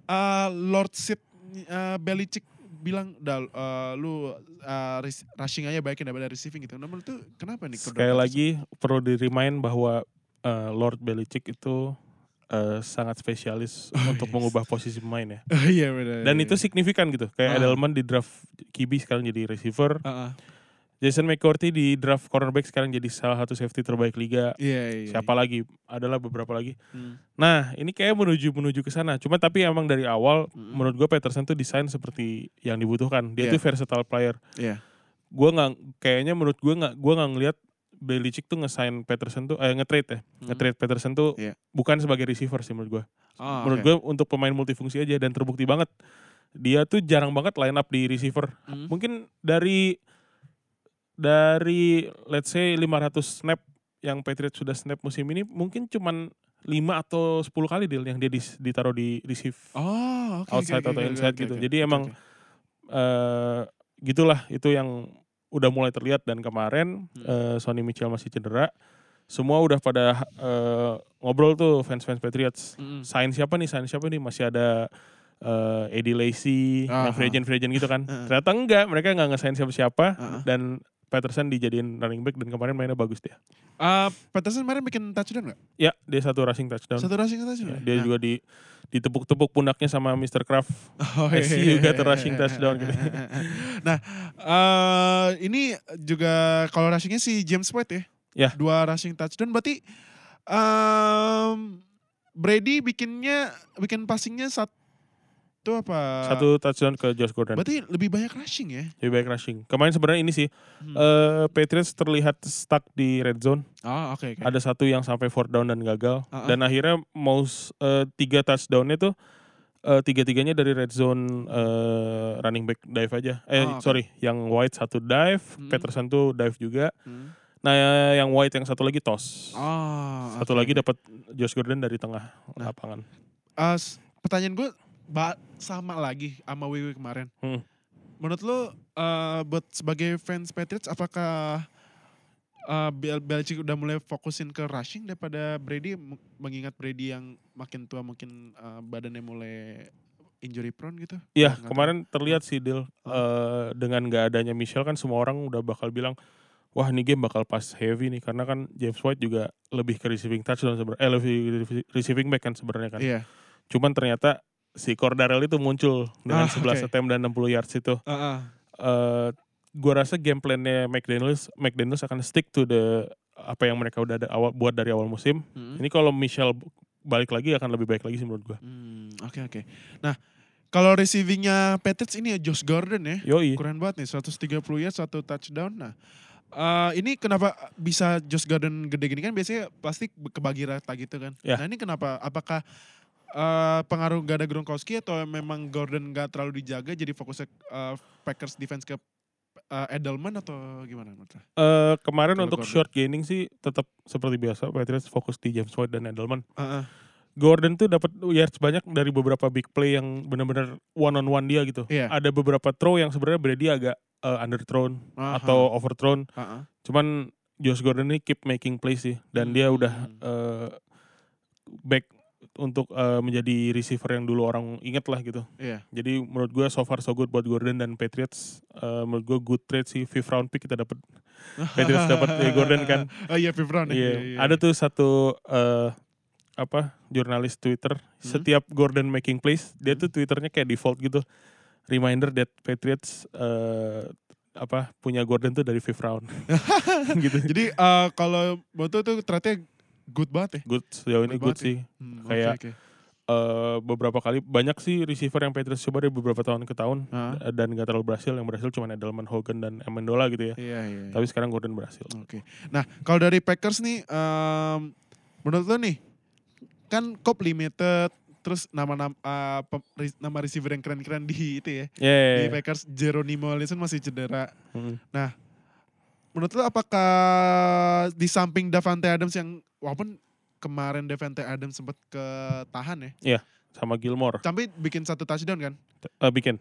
Speaker 1: eh, Lordship eh, Belichick bilang udah eh, lu eh, res- rushing aja baikin daripada receiving gitu. Nomor itu kenapa nih Cordero
Speaker 2: Sekali
Speaker 1: Patterson?
Speaker 2: lagi perlu di-remind bahwa eh, Lord Belichick itu eh, sangat spesialis
Speaker 1: Oh,
Speaker 2: untuk
Speaker 1: yes.
Speaker 2: mengubah posisi pemain ya.
Speaker 1: Oh, iya benar.
Speaker 2: Dan itu signifikan gitu.
Speaker 1: Ah.
Speaker 2: Kayak Edelman di draft QB sekarang jadi receiver.
Speaker 1: Heeh.
Speaker 2: Jason McCourty di draft cornerback sekarang jadi salah satu safety terbaik liga.
Speaker 1: Iya iya.
Speaker 2: Siapa lagi? Adalah beberapa lagi.
Speaker 1: Hmm.
Speaker 2: Nah, ini kayak menuju menuju ke sana. Cuma tapi emang dari awal
Speaker 1: Mm-mm.
Speaker 2: menurut gue Peterson tuh desain seperti yang dibutuhkan.
Speaker 1: Hmm.
Speaker 2: Dia
Speaker 1: Iya.
Speaker 2: tuh versatile player.
Speaker 1: Iya.
Speaker 2: Gue nggak kayaknya menurut gue nggak gue nggak ngelihat Belichick tuh nge-sign Peterson tuh eh nge-trade ya.
Speaker 1: hmm.
Speaker 2: Nge-trade Peterson tuh
Speaker 1: Iya.
Speaker 2: bukan sebagai receiver sih menurut gue.
Speaker 1: Oh,
Speaker 2: Menurut gue untuk pemain multifungsi aja dan terbukti banget dia tuh jarang banget line up di receiver.
Speaker 1: Hmm.
Speaker 2: Mungkin dari dari let's say 500 snap yang Patriots sudah snap musim ini mungkin cuman 5 atau 10 kali deal yang dia dis- ditaruh di receive
Speaker 1: Oh, oke, oke,
Speaker 2: outside
Speaker 1: oke,
Speaker 2: atau
Speaker 1: oke,
Speaker 2: inside
Speaker 1: oke,
Speaker 2: gitu.
Speaker 1: oke,
Speaker 2: Jadi
Speaker 1: oke,
Speaker 2: emang-
Speaker 1: oke.
Speaker 2: eh gitulah itu yang udah mulai terlihat dan kemarin
Speaker 1: Hmm.
Speaker 2: eh, Sonny Michel masih cedera semua udah pada eh, ngobrol tuh fans-fans Patriots
Speaker 1: Mm-mm.
Speaker 2: sign siapa nih sign siapa nih masih ada eh, Eddie Lacy
Speaker 1: Aha.
Speaker 2: yang free agent free agent gitu kan
Speaker 1: Heeh.
Speaker 2: ternyata enggak mereka nggak nge-sign siapa-siapa
Speaker 1: Heeh.
Speaker 2: dan Patterson dijadiin running back dan kemarin mainnya bagus dia
Speaker 1: Eh, Patterson kemarin bikin touchdown gak?
Speaker 2: ya dia satu rushing touchdown
Speaker 1: Satu rushing
Speaker 2: Ya,
Speaker 1: touchdown.
Speaker 2: dia
Speaker 1: Nah.
Speaker 2: juga di ditepuk-tepuk pundaknya sama Mr. Kraft
Speaker 1: Oh,
Speaker 2: I see you got a
Speaker 1: iya.
Speaker 2: rushing touchdown. gitu.
Speaker 1: nah, eh ini juga kalau rushingnya si James White ya.
Speaker 2: Ya.
Speaker 1: Dua rushing touchdown berarti em, Brady bikinnya bikin passingnya satu apa?
Speaker 2: satu touchdown ke Josh Gordon
Speaker 1: Berarti lebih banyak rushing ya.
Speaker 2: lebih baik rushing kemarin sebenarnya ini sih
Speaker 1: Hmm.
Speaker 2: eh Patriots terlihat stuck di red zone.
Speaker 1: oh, oke. oke.
Speaker 2: Ada satu yang sampai fourth down dan gagal.
Speaker 1: Ah, ah.
Speaker 2: Dan akhirnya mau tiga touchdownnya tuh eh, tiga-tiganya dari red zone eh, running back dive aja. Eh
Speaker 1: Ah, oke.
Speaker 2: sorry, yang White satu dive,
Speaker 1: Hmm.
Speaker 2: Peterson tuh dive juga.
Speaker 1: Hmm.
Speaker 2: Nah eh, yang White yang satu lagi toss.
Speaker 1: Oh,
Speaker 2: Satu
Speaker 1: oke.
Speaker 2: lagi dapat Josh Gordon dari tengah
Speaker 1: Nah.
Speaker 2: lapangan.
Speaker 1: Eh, s- pertanyaan gue ba- sama lagi sama Wiwi kemarin.
Speaker 2: Hmm.
Speaker 1: Menurut lo eh, buat sebagai fans Patriots apakah eh, Bel Belichick udah mulai fokusin ke rushing daripada Brady M- mengingat Brady yang makin tua mungkin eh, badannya mulai injury prone gitu.
Speaker 2: Iya,
Speaker 1: Nggak tahu.
Speaker 2: kemarin terlihat sih Dil Eh, dengan nggak adanya Michel kan semua orang udah bakal bilang wah ini game bakal pass heavy nih karena kan James White juga lebih ke receiving touchdown sebenarnya eh, lebih ke receiving back kan sebenarnya kan.
Speaker 1: Iya.
Speaker 2: Cuman ternyata si Cordarel itu muncul dengan
Speaker 1: Ah,
Speaker 2: 11
Speaker 1: oke.
Speaker 2: attempt dan 60 yards itu.
Speaker 1: Heeh.
Speaker 2: Eh gua rasa game plan-nya McDaniels McDaniels akan stick to the apa yang mereka udah ada awal, buat dari awal musim.
Speaker 1: Mm.
Speaker 2: Ini kalau Michel balik lagi akan lebih baik lagi sih menurut gua.
Speaker 1: Hmm, oke oke. Nah, kalau receivingnya Patriots ini ya Josh Gordon ya.
Speaker 2: Yoi.
Speaker 1: Keren banget nih, 130 yards, satu touchdown. Nah, eh, ini kenapa bisa Josh Gordon gede gini kan biasanya pasti kebagi rata gitu kan.
Speaker 2: Ya.
Speaker 1: Nah, ini kenapa? Apakah eh, pengaruh gak ada Gronkowski atau memang Gordon gak terlalu dijaga jadi fokusnya eh, Packers defense ke eh, Edelman atau gimana menurut lo?
Speaker 2: Eh, kemarin
Speaker 1: Kalau
Speaker 2: untuk
Speaker 1: Gordon.
Speaker 2: short gaining sih tetap seperti biasa Patriots fokus di James White dan Edelman.
Speaker 1: Heeh.
Speaker 2: Gordon tuh dapat yards banyak dari beberapa big play yang benar-benar one on one dia gitu.
Speaker 1: Iya.
Speaker 2: Ada beberapa throw yang sebenarnya Brady agak eh, underthrown
Speaker 1: Aha.
Speaker 2: atau overthrown.
Speaker 1: Heeh.
Speaker 2: Cuman Josh Gordon ini keep making plays sih dan dia
Speaker 1: Hmm.
Speaker 2: udah eh, back untuk eh, menjadi receiver yang dulu orang inget lah gitu.
Speaker 1: Iya.
Speaker 2: Jadi menurut gue so far so good buat Gordon dan Patriots. Eh, menurut gue good trade sih fifth round pick kita dapat Patriots dapat eh, Gordon kan.
Speaker 1: Oh iya, Fifth round ya.
Speaker 2: Iya,
Speaker 1: Iya, iya,
Speaker 2: ada tuh satu eh, apa jurnalis Twitter.
Speaker 1: Hmm?
Speaker 2: Setiap Gordon making plays, dia tuh Twitternya kayak default gitu. Reminder that Patriots eh, apa punya Gordon tuh dari fifth round. gitu.
Speaker 1: Jadi eh, kalau Boto tuh ternyata good banget ya.
Speaker 2: Good sejauh ini
Speaker 1: Good
Speaker 2: good
Speaker 1: banget
Speaker 2: sih.
Speaker 1: Hmm,
Speaker 2: Kayak-
Speaker 1: oke, oke.
Speaker 2: Eh, beberapa kali banyak sih receiver yang Patriots coba dari beberapa tahun ke tahun
Speaker 1: Ah.
Speaker 2: eh, dan gak terlalu berhasil. Yang berhasil cuma Edelman, Hogan dan Amendola gitu ya.
Speaker 1: Iya, iya. iya.
Speaker 2: Tapi sekarang Gordon berhasil.
Speaker 1: Oke. Nah, kalau dari Packers nih em, menurut lo nih kan Cop limited terus nama-nama eh, pe- re- nama receiver yang keren-keren di itu ya. Di
Speaker 2: Yeah.
Speaker 1: Packers Jeronimo Allison masih cedera.
Speaker 2: Mm.
Speaker 1: Menurut lo apakah di samping Davante Adams yang walaupun kemarin Davante Adams sempat ketahan ya,
Speaker 2: Sama Gilmore
Speaker 1: tapi bikin satu touchdown kan?
Speaker 2: Eh, bikin.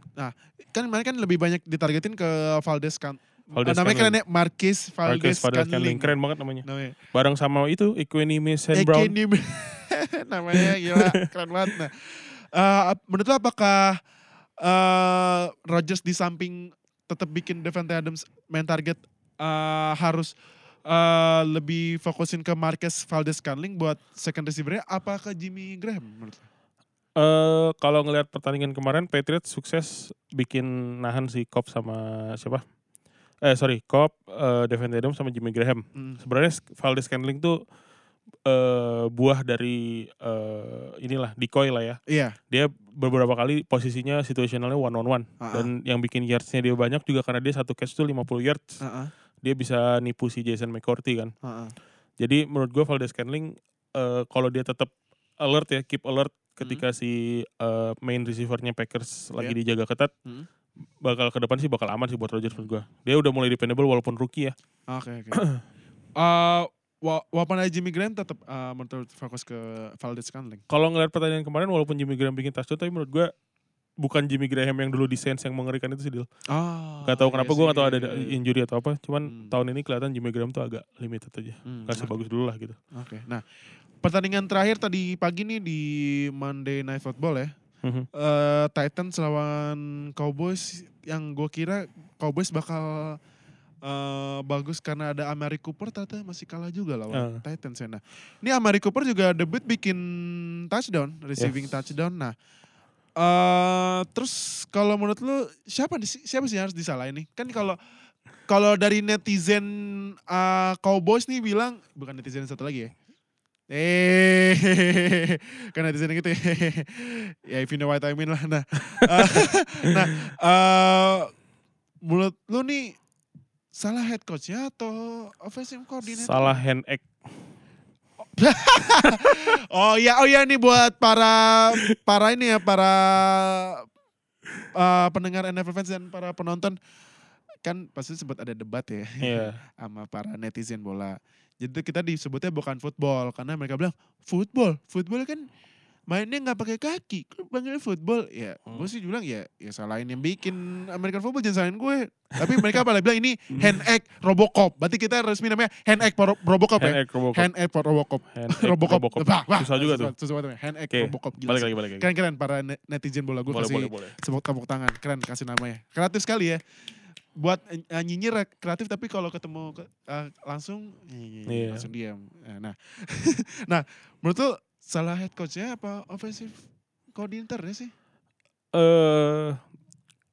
Speaker 1: kan kemarin kan lebih banyak ditargetin ke Valdes kan.
Speaker 2: Valdes
Speaker 1: namanya
Speaker 2: Scanling.
Speaker 1: keren ya, Marquez Valdes,
Speaker 2: Marcus Valdes Scantling.
Speaker 1: Scanling.
Speaker 2: Keren banget namanya.
Speaker 1: Namanya.
Speaker 2: Bareng sama itu Equinime St. Brown.
Speaker 1: Ekeni. namanya gila, keren banget. Nah, eh, ap- menurut lo apakah eh Rodgers di samping tetap bikin Devante Adams main target eh, harus eh, lebih fokusin ke Marquez Valdes Scanling buat second receiver-nya apa ke Jimmy Graham menurut lo?
Speaker 2: Eh kalau ngelihat pertandingan kemarin Patriots sukses bikin nahan si Cobb sama siapa? Eh sorry, Cobb, eh Devin Adams sama Jimmy Graham.
Speaker 1: Hmm.
Speaker 2: Sebenarnya Sk- Valdez Scantling tuh eh buah dari eh inilah decoy lah ya.
Speaker 1: Iya.
Speaker 2: Dia beberapa kali posisinya situasionalnya one on one
Speaker 1: Ah,
Speaker 2: dan yang bikin yardsnya dia banyak juga karena dia satu catch tuh 50 yards.
Speaker 1: Heeh.
Speaker 2: Dia bisa nipu si Jason McCourty kan.
Speaker 1: heeh.
Speaker 2: Jadi menurut gue Valdez Scanling eh, kalau dia tetap alert ya, keep alert
Speaker 1: Hmm.
Speaker 2: ketika si eh, main receivernya Packers lagi dijaga ketat,
Speaker 1: Hmm.
Speaker 2: bakal ke depan sih bakal aman sih buat Rodgers menurut gue. Dia udah mulai dependable walaupun rookie ya.
Speaker 1: Oke oke. Eh, wa- Walaupun ada Jimmy Graham tetap eh, menurut fokus ke Valdez Scanling.
Speaker 2: Kalau ngeliat pertandingan kemarin walaupun Jimmy Graham bikin touchdown, tapi menurut gue bukan Jimmy Graham yang dulu di Saints yang mengerikan itu sih Dil.
Speaker 1: Ah.
Speaker 2: Gak tau kenapa gue gak tau ada ada
Speaker 1: Oke.
Speaker 2: injury atau apa. Cuman
Speaker 1: Hmm. Nah.
Speaker 2: tahun ini kelihatan Jimmy Graham tuh agak limited aja. Gak sebagus dulu lah gitu.
Speaker 1: Oke. Nah, pertandingan terakhir tadi pagi nih di Monday Night Football ya.
Speaker 2: Mhm.
Speaker 1: Eh Titans lawan Cowboys yang gue kira Cowboys bakal eh, bagus karena ada Amari Cooper ternyata masih kalah juga lawan Titans ya. Nah, ini Amari Cooper juga debut bikin touchdown, receiving
Speaker 2: Yes.
Speaker 1: touchdown. Nah, eh terus kalau menurut lu siapa di- siapa sih yang harus disalahin nih? Kan kalau kalau dari netizen eh, Cowboys nih bilang bukan netizen satu lagi ya. Eh, kan netizen gitu ya. ya if you know what I mean lah. Nah, eh, nah, eh, menurut lu nih salah head coachnya atau offensive coordinator?
Speaker 2: Salah hand egg.
Speaker 1: Oh iya, oh iya nih buat para para ini ya para eh, pendengar NFL fans dan para penonton kan pasti sempat ada debat ya
Speaker 2: Iya.
Speaker 1: sama para netizen bola. Jadi kita disebutnya bukan football karena mereka bilang football, football kan mainnya nggak pakai kaki, kan panggilnya football. Ya,
Speaker 2: Hmm.
Speaker 1: gue sih bilang ya, ya salahin yang bikin American football jangan salahin gue. Tapi mereka pada bilang ini
Speaker 2: Hmm.
Speaker 1: hand egg Robocop. Berarti kita resmi namanya hand egg Pro- Robocop
Speaker 2: Hand
Speaker 1: ya.
Speaker 2: egg Robocop.
Speaker 1: Hand egg Robocop.
Speaker 2: Hand egg
Speaker 1: Robocop.
Speaker 2: Robocop.
Speaker 1: Bah, bah.
Speaker 2: Susah juga tuh.
Speaker 1: Susah banget. Hand egg
Speaker 2: Oke,
Speaker 1: Robocop. Gila
Speaker 2: Balik
Speaker 1: sih.
Speaker 2: lagi, balik lagi.
Speaker 1: Keren-keren para ne- netizen bola gue
Speaker 2: Boleh,
Speaker 1: kasih
Speaker 2: boleh, boleh.
Speaker 1: sebut tepuk tangan keren kasih namanya kreatif sekali ya buat eh, nyinyir kreatif tapi kalau ketemu ke- eh, langsung eh,
Speaker 2: Iya.
Speaker 1: langsung diam Eh, nah nah menurut tuh salah head coachnya apa offensive coordinatornya sih
Speaker 2: Eh,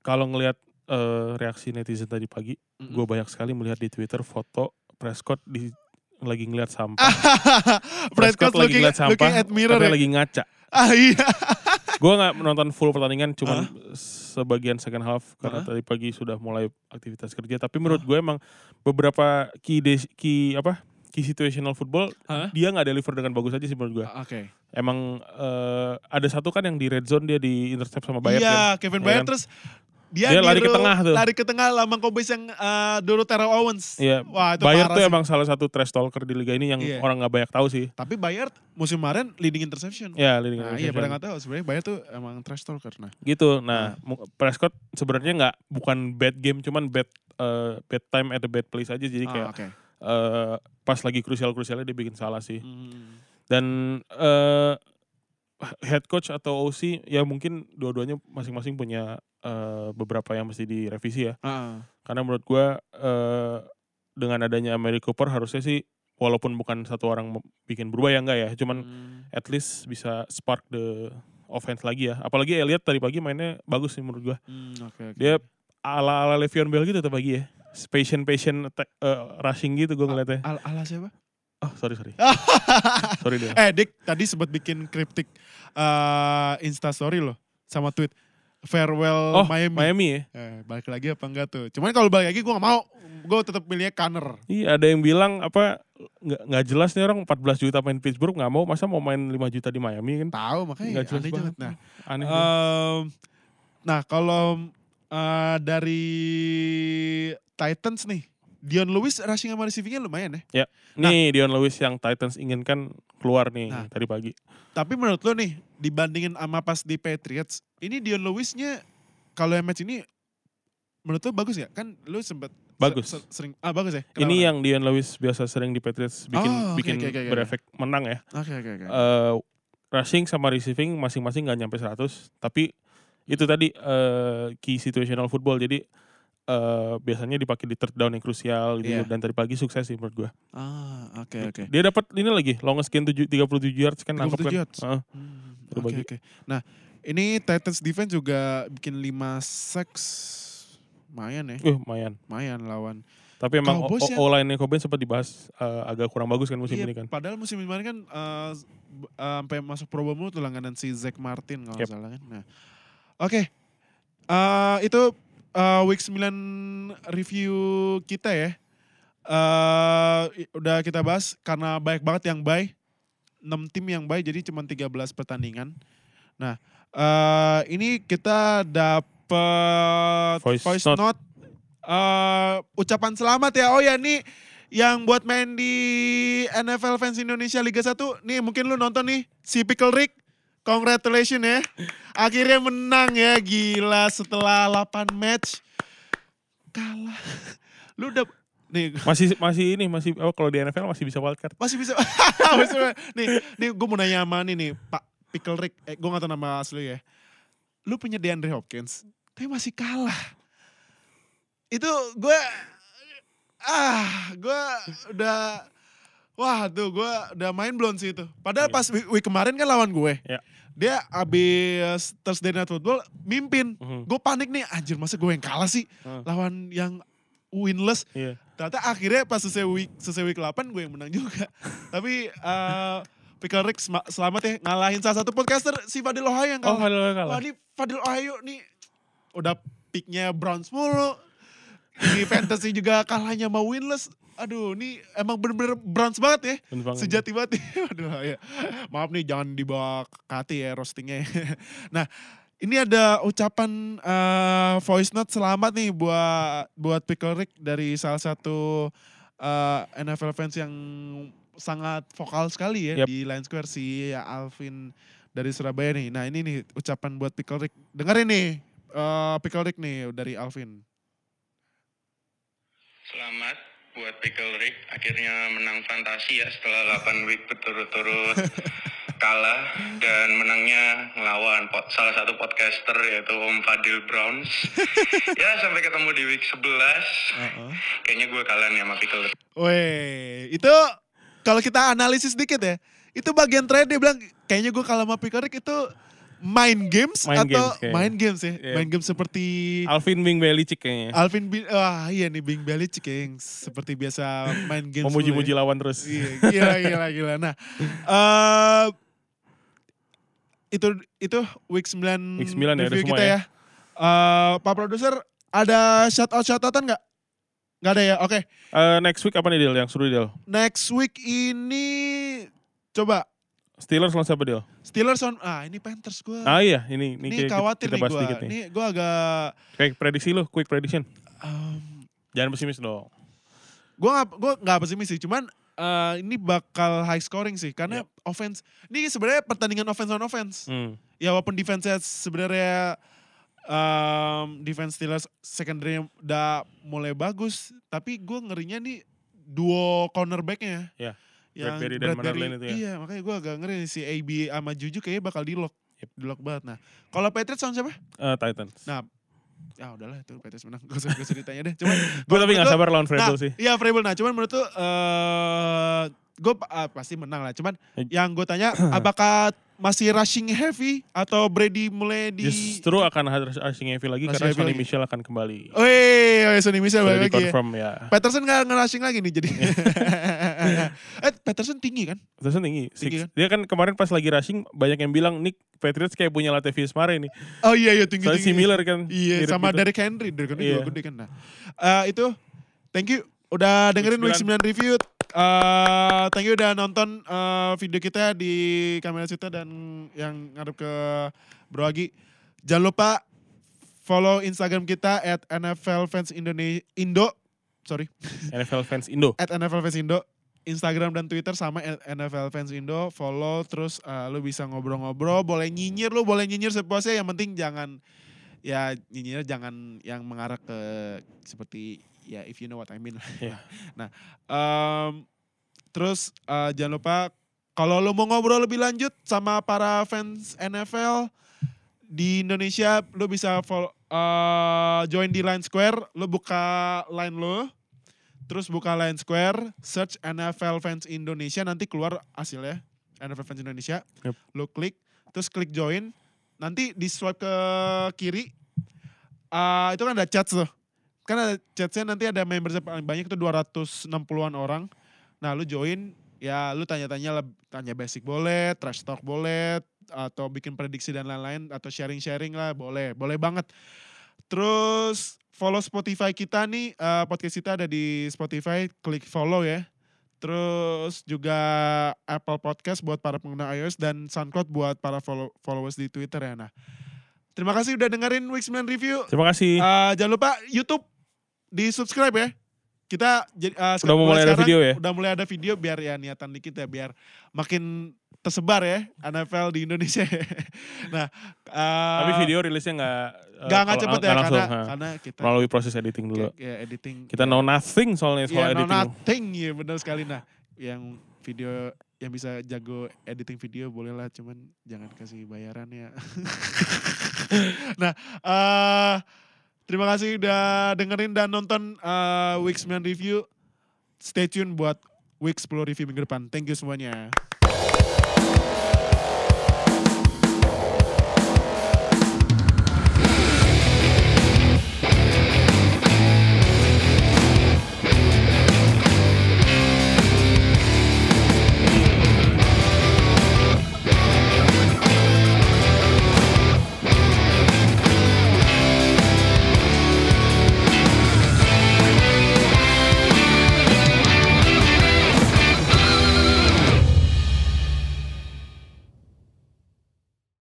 Speaker 2: kalau ngelihat eh, reaksi netizen tadi pagi,
Speaker 1: Mm-mm.
Speaker 2: gue banyak sekali melihat di Twitter foto Prescott di lagi ngelihat sampah.
Speaker 1: Ah, Prescott looking,
Speaker 2: ngeliat
Speaker 1: looking at mirror
Speaker 2: tapi
Speaker 1: ya?
Speaker 2: lagi ngaca.
Speaker 1: ah iya
Speaker 2: Gue nggak menonton full pertandingan, cuman sebagian second half
Speaker 1: Ah.
Speaker 2: karena tadi pagi sudah mulai aktivitas kerja. Tapi menurut gue emang beberapa key des- key apa key situational football
Speaker 1: Ah.
Speaker 2: dia nggak deliver dengan bagus aja sih menurut gue.
Speaker 1: oke
Speaker 2: Emang eh, ada satu kan yang di red zone dia di intercept sama Bayern.
Speaker 1: iya
Speaker 2: kan?
Speaker 1: Kevin
Speaker 2: Iya
Speaker 1: Bayard
Speaker 2: kan?
Speaker 1: terus dia,
Speaker 2: Dia lari ke
Speaker 1: niru-
Speaker 2: tengah tuh.
Speaker 1: lari ke tengah lambang kombes yang eh, dulu Terrell Owens
Speaker 2: Iya.
Speaker 1: wah itu
Speaker 2: Bayern
Speaker 1: parah
Speaker 2: tuh
Speaker 1: sih.
Speaker 2: emang salah satu trash talker di liga ini yang
Speaker 1: Iya.
Speaker 2: orang nggak banyak tahu sih.
Speaker 1: tapi Bayard musim kemarin leading interception
Speaker 2: Ya, leading
Speaker 1: Nah, iya pada
Speaker 2: interception.
Speaker 1: nggak tahu sebenarnya Bayer tuh emang trash talker nah.
Speaker 2: gitu. Nah, mu- Prescott sebenarnya nggak bukan bad game, cuman bad eh, bad time at the bad place aja. Jadi kayak
Speaker 1: Ah, oke.
Speaker 2: eh, pas lagi krusial-krusialnya dia bikin salah sih.
Speaker 1: Hmm.
Speaker 2: Dan eh, head coach atau OC ya mungkin dua-duanya masing-masing punya eh, beberapa yang mesti direvisi ya.
Speaker 1: Ah,
Speaker 2: Karena menurut gua eh, dengan adanya Mary Cooper harusnya sih walaupun bukan satu orang mem- bikin berubah ya enggak ya, cuman
Speaker 1: hmm.
Speaker 2: at least bisa spark the offense lagi ya. Apalagi Elliot tadi pagi mainnya bagus sih menurut gua.
Speaker 1: Hmm, oke oke.
Speaker 2: Dia ala-ala Le'Veon Bell gitu tadi pagi ya. Patient-patient attack, eh, rushing gitu gua ngeliatnya.
Speaker 1: Al ala siapa?
Speaker 2: Oh, sorry sorry. sorry deh.
Speaker 1: eh Dik tadi sempat bikin kriptik eh Insta story loh sama tweet farewell
Speaker 2: Oh, Miami.
Speaker 1: Miami.
Speaker 2: ya.
Speaker 1: Eh, balik lagi apa enggak tuh? Cuman kalau balik lagi gue gak mau. Gue tetap milihnya Kanner.
Speaker 2: Iya, ada yang bilang apa nggak nggak jelas nih orang 14 juta main Pittsburgh nggak mau, masa mau main 5 juta di Miami kan?
Speaker 1: Tahu makanya
Speaker 2: Nggak jelas
Speaker 1: aneh
Speaker 2: banget. Eh,
Speaker 1: banget. Nah,
Speaker 2: Aneh.
Speaker 1: Em, nah kalau eh, dari Titans nih, Dion Lewis rushing sama receivingnya lumayan ya.
Speaker 2: nih Dion Lewis yang Titans inginkan keluar nih
Speaker 1: Nah.
Speaker 2: tadi pagi.
Speaker 1: Tapi menurut lo nih, dibandingin sama pas di Patriots, ini Dion Lewisnya kalau yang match ini menurut lo bagus gak? Kan lo sempet se-
Speaker 2: Bagus.
Speaker 1: se- sering ah bagus ya.
Speaker 2: Ini yang Dion Lewis biasa sering di Patriots bikin
Speaker 1: Oh, oke,
Speaker 2: bikin
Speaker 1: oke, oke, oke.
Speaker 2: berefek menang ya.
Speaker 1: Oke oke oke.
Speaker 2: eh rushing sama receiving masing-masing nggak nyampe 100 tapi itu tadi eh key situational football jadi eh biasanya dipakai di third down yang krusial gitu
Speaker 1: Iya.
Speaker 2: dan tadi pagi sukses sih menurut gua
Speaker 1: Ah oke oke.
Speaker 2: dia dapat ini lagi longest gain tujuh- 37 yards kan nangkep
Speaker 1: 37
Speaker 2: kan
Speaker 1: yards.
Speaker 2: Heeh.
Speaker 1: Hmm,
Speaker 2: Terus
Speaker 1: Oke
Speaker 2: bagi.
Speaker 1: oke. Nah, ini Titans defense juga bikin 5 sacks. Lumayan ya,
Speaker 2: Eh, lumayan
Speaker 1: lumayan lawan.
Speaker 2: tapi emang
Speaker 1: Cowboys ya.
Speaker 2: o line Cobain sempat dibahas eh, agak kurang bagus kan musim
Speaker 1: Iya,
Speaker 2: ini kan
Speaker 1: Padahal musim kemarin kan eh, s- b- eh, sampai masuk Pro Bowl mulu tuh langganan si Zach Martin kalau nggak
Speaker 2: Yep.
Speaker 1: salah kan. Nah. Oke. Eh, itu eh, week 9 review kita ya. Eh, i- udah kita bahas karena banyak banget yang bye. 6 tim yang bye jadi cuma 13 pertandingan. Nah, eh, ini kita dapat
Speaker 2: Voice note.
Speaker 1: note. Eh, ucapan selamat ya. Oh ya nih yang buat main di NFL Fans Indonesia Liga 1 nih mungkin lu nonton nih si Pickle Rick congratulations ya akhirnya menang ya gila setelah 8 match kalah lu udah nih
Speaker 2: masih masih ini masih oh, kalau di NFL masih bisa wildcard
Speaker 1: masih bisa Masih bisa. nih nih gue mau nanya sama nih nih Pak Pickle Rick eh gue gak tau nama asli ya lu punya DeAndre Hopkins tapi masih kalah itu gue ah gue udah wah tuh gue udah main belum sih itu padahal
Speaker 2: Iya.
Speaker 1: pas week, week kemarin kan lawan gue
Speaker 2: Iya.
Speaker 1: dia abis Thursday Night Football mimpin
Speaker 2: Mhm.
Speaker 1: gue panik nih anjir masa gue yang kalah sih
Speaker 2: Heeh.
Speaker 1: lawan yang winless
Speaker 2: iya
Speaker 1: Ternyata akhirnya pas selesai week, selesai week 8 gue yang menang juga. Tapi eh Pickle Rick sema- selamat ya ngalahin salah satu podcaster si Fadil Ohio yang
Speaker 2: oh
Speaker 1: kalah.
Speaker 2: kalau kalah
Speaker 1: Wah ini Fadil Ohio nih udah picknya Browns mulu. Di fantasy juga kalahnya sama winless. Aduh ini emang bener-bener Browns banget ya.
Speaker 2: Bener banget.
Speaker 1: Sejati banget ya. Aduh, ya. Maaf nih jangan dibawa ke hati ya roastingnya. nah ini ada ucapan eh, voice note selamat nih buat buat Pickle Rick dari salah satu eh, NFL fans yang sangat vokal sekali ya
Speaker 2: Yep.
Speaker 1: di Line Square si Alvin dari Surabaya nih. Nah ini nih ucapan buat Pickle Rick. Dengerin nih eh Pickle Rick nih dari Alvin.
Speaker 4: Selamat buat Pickle Rick akhirnya menang fantasi ya setelah 8 week berturut-turut kalah dan menangnya ngelawan pod- salah satu podcaster yaitu Om Fadil Browns. ya sampai ketemu di week 11.
Speaker 1: Heeh.
Speaker 4: Kayaknya gue kalah nih sama Pickle Rick.
Speaker 1: Weh, itu kalau kita analisis dikit ya, itu bagian terakhir dia bilang kayaknya gue kalau sama Pickle Rick itu main games
Speaker 2: Main
Speaker 1: atau
Speaker 2: games kayaknya.
Speaker 1: main games ya,
Speaker 2: Iya.
Speaker 1: main games seperti
Speaker 2: Alvin Bing Belicik kayaknya.
Speaker 1: Alvin bin, wah iya nih Bing Belicik ya, yang seperti biasa main games. mulu ya.
Speaker 2: Memuji-muji lawan terus.
Speaker 1: Iya, gila gila gila. Nah, eh itu itu week 9
Speaker 2: Week 9 ya, ada
Speaker 1: review
Speaker 2: semua
Speaker 1: kita
Speaker 2: ya.
Speaker 1: ya. Eh, Pak produser ada shout out shout outan nggak? Nggak ada ya. Oke,
Speaker 2: Eh, next week apa nih Del yang seru Del?
Speaker 1: next week ini coba
Speaker 2: Steelers lawan siapa Del?
Speaker 1: Steelers on ah ini Panthers gue.
Speaker 2: Ah iya ini ini,
Speaker 1: ini
Speaker 2: kita-
Speaker 1: khawatir
Speaker 2: kita
Speaker 1: nih
Speaker 2: bahas
Speaker 1: gue.
Speaker 2: dikit nih.
Speaker 1: Ini gue agak
Speaker 2: Kayak prediksi lu, quick prediction.
Speaker 1: em,
Speaker 2: Jangan pesimis dong.
Speaker 1: gue gak, gua nggak pesimis sih cuman eh, ini bakal high scoring sih karena
Speaker 2: Iya.
Speaker 1: offense ini sebenarnya pertandingan offense on offense
Speaker 2: Hmm.
Speaker 1: ya walaupun defense sebenarnya em, defense Steelers secondary udah mulai bagus tapi gue ngerinya nih duo cornerbacknya
Speaker 2: Ya,
Speaker 1: yang
Speaker 2: Bradbury dan Mannerlin itu ya.
Speaker 1: Iya, makanya gue agak ngeri nih, si AB sama Juju kayaknya bakal di lock.
Speaker 2: Yep.
Speaker 1: Di lock banget. Nah, kalau Patriots sama siapa?
Speaker 2: Eh, Titans.
Speaker 1: Nah, ya udahlah itu Patriots menang. Gak usah, gak usah ditanya deh. Cuman
Speaker 2: gue tapi
Speaker 1: kalau
Speaker 2: nggak
Speaker 1: menurut lu-
Speaker 2: sabar lawan Fredo
Speaker 1: nah,
Speaker 2: sih.
Speaker 1: Iya Vrabel. Nah cuman menurut tuh eh gue pasti menang lah. Cuman
Speaker 2: Eh.
Speaker 1: yang gue tanya apakah masih rushing heavy atau Brady mulai di...
Speaker 2: Justru akan harus rushing heavy lagi
Speaker 1: Rushing
Speaker 2: karena
Speaker 1: heavy
Speaker 2: Sonny
Speaker 1: lagi.
Speaker 2: Michel akan kembali.
Speaker 1: Wih, oh, Sonny Michel
Speaker 2: Sudah
Speaker 1: balik lagi ya.
Speaker 2: dikonfirm ya.
Speaker 1: Patterson gak nge-rushing lagi nih jadi. eh Patterson tinggi kan?
Speaker 2: Terus tinggi. six.
Speaker 1: Tinggi kan?
Speaker 2: Dia kan kemarin pas lagi rushing banyak yang bilang Nick Patriots kayak punya Latavius Murray nih.
Speaker 1: Oh iya iya tinggi
Speaker 2: Soalnya si
Speaker 1: tinggi.
Speaker 2: Miller kan.
Speaker 1: Iya
Speaker 2: mirip
Speaker 1: sama
Speaker 2: gitu.
Speaker 1: Derrick Henry. Derrick Henry juga
Speaker 2: Iya.
Speaker 1: gede kan. Nah, Eh, itu thank you udah dengerin
Speaker 2: Week
Speaker 1: Week 9 review. Eh, thank you udah nonton eh, video kita di kamera kita dan yang ngadep ke Bro Agi. Jangan lupa follow Instagram kita at NFL Fans Indonesia Indo. Sorry,
Speaker 2: NFL fans Indo.
Speaker 1: at NFL Fans Indo. Instagram dan Twitter sama at NFL Fans Indo. Follow terus eh, lu bisa ngobrol-ngobrol, boleh nyinyir lu, boleh nyinyir sepuasnya yang penting jangan ya nyinyir jangan yang mengarah ke seperti ya if you know what I mean.
Speaker 2: Iya.
Speaker 1: nah, em, terus eh, jangan lupa kalau lu mau ngobrol lebih lanjut sama para fans NFL di Indonesia lu bisa follow, eh, join di Line Square, lu buka line lu terus buka Line Square, search NFL Fans Indonesia, nanti keluar hasilnya NFL Fans Indonesia.
Speaker 2: Yep.
Speaker 1: Lu klik, terus klik join, nanti di swipe ke kiri, ah, itu kan ada chat tuh. Kan ada chatnya nanti ada membernya paling banyak itu 260-an orang. Nah lu join, ya lu tanya-tanya, leb- tanya basic boleh, trash talk boleh, atau bikin prediksi dan lain-lain, atau sharing-sharing lah boleh, boleh banget. Terus follow Spotify kita nih, eh, podcast kita ada di Spotify, klik follow ya. Terus juga Apple Podcast buat para pengguna iOS dan SoundCloud buat para follow- followers di Twitter ya. Nah, terima kasih udah dengerin Week 9 Review.
Speaker 2: Terima kasih.
Speaker 1: Eh, jangan lupa YouTube di subscribe ya. Kita jadi eh,
Speaker 2: Udah mau mulai ada video ya?
Speaker 1: Udah mulai ada video biar ya niatan dikit ya biar makin tersebar ya NFL di Indonesia. nah, eh,
Speaker 2: tapi video rilisnya nggak eh,
Speaker 1: Gak nggak
Speaker 2: kalau-
Speaker 1: cepet ya
Speaker 2: nggak
Speaker 1: karena
Speaker 2: langsung, ha.
Speaker 1: karena kita
Speaker 2: melalui proses editing dulu.
Speaker 1: ya, editing.
Speaker 2: Kita know nothing soalnya
Speaker 1: ya,
Speaker 2: soal
Speaker 1: no
Speaker 2: editing.
Speaker 1: nothing ya benar sekali nah. Yang video yang bisa jago editing video bolehlah cuman jangan kasih bayaran ya. nah, eh terima kasih udah dengerin dan nonton eh, Week 9 review. Stay tune buat Week 10 review minggu depan. Thank you semuanya.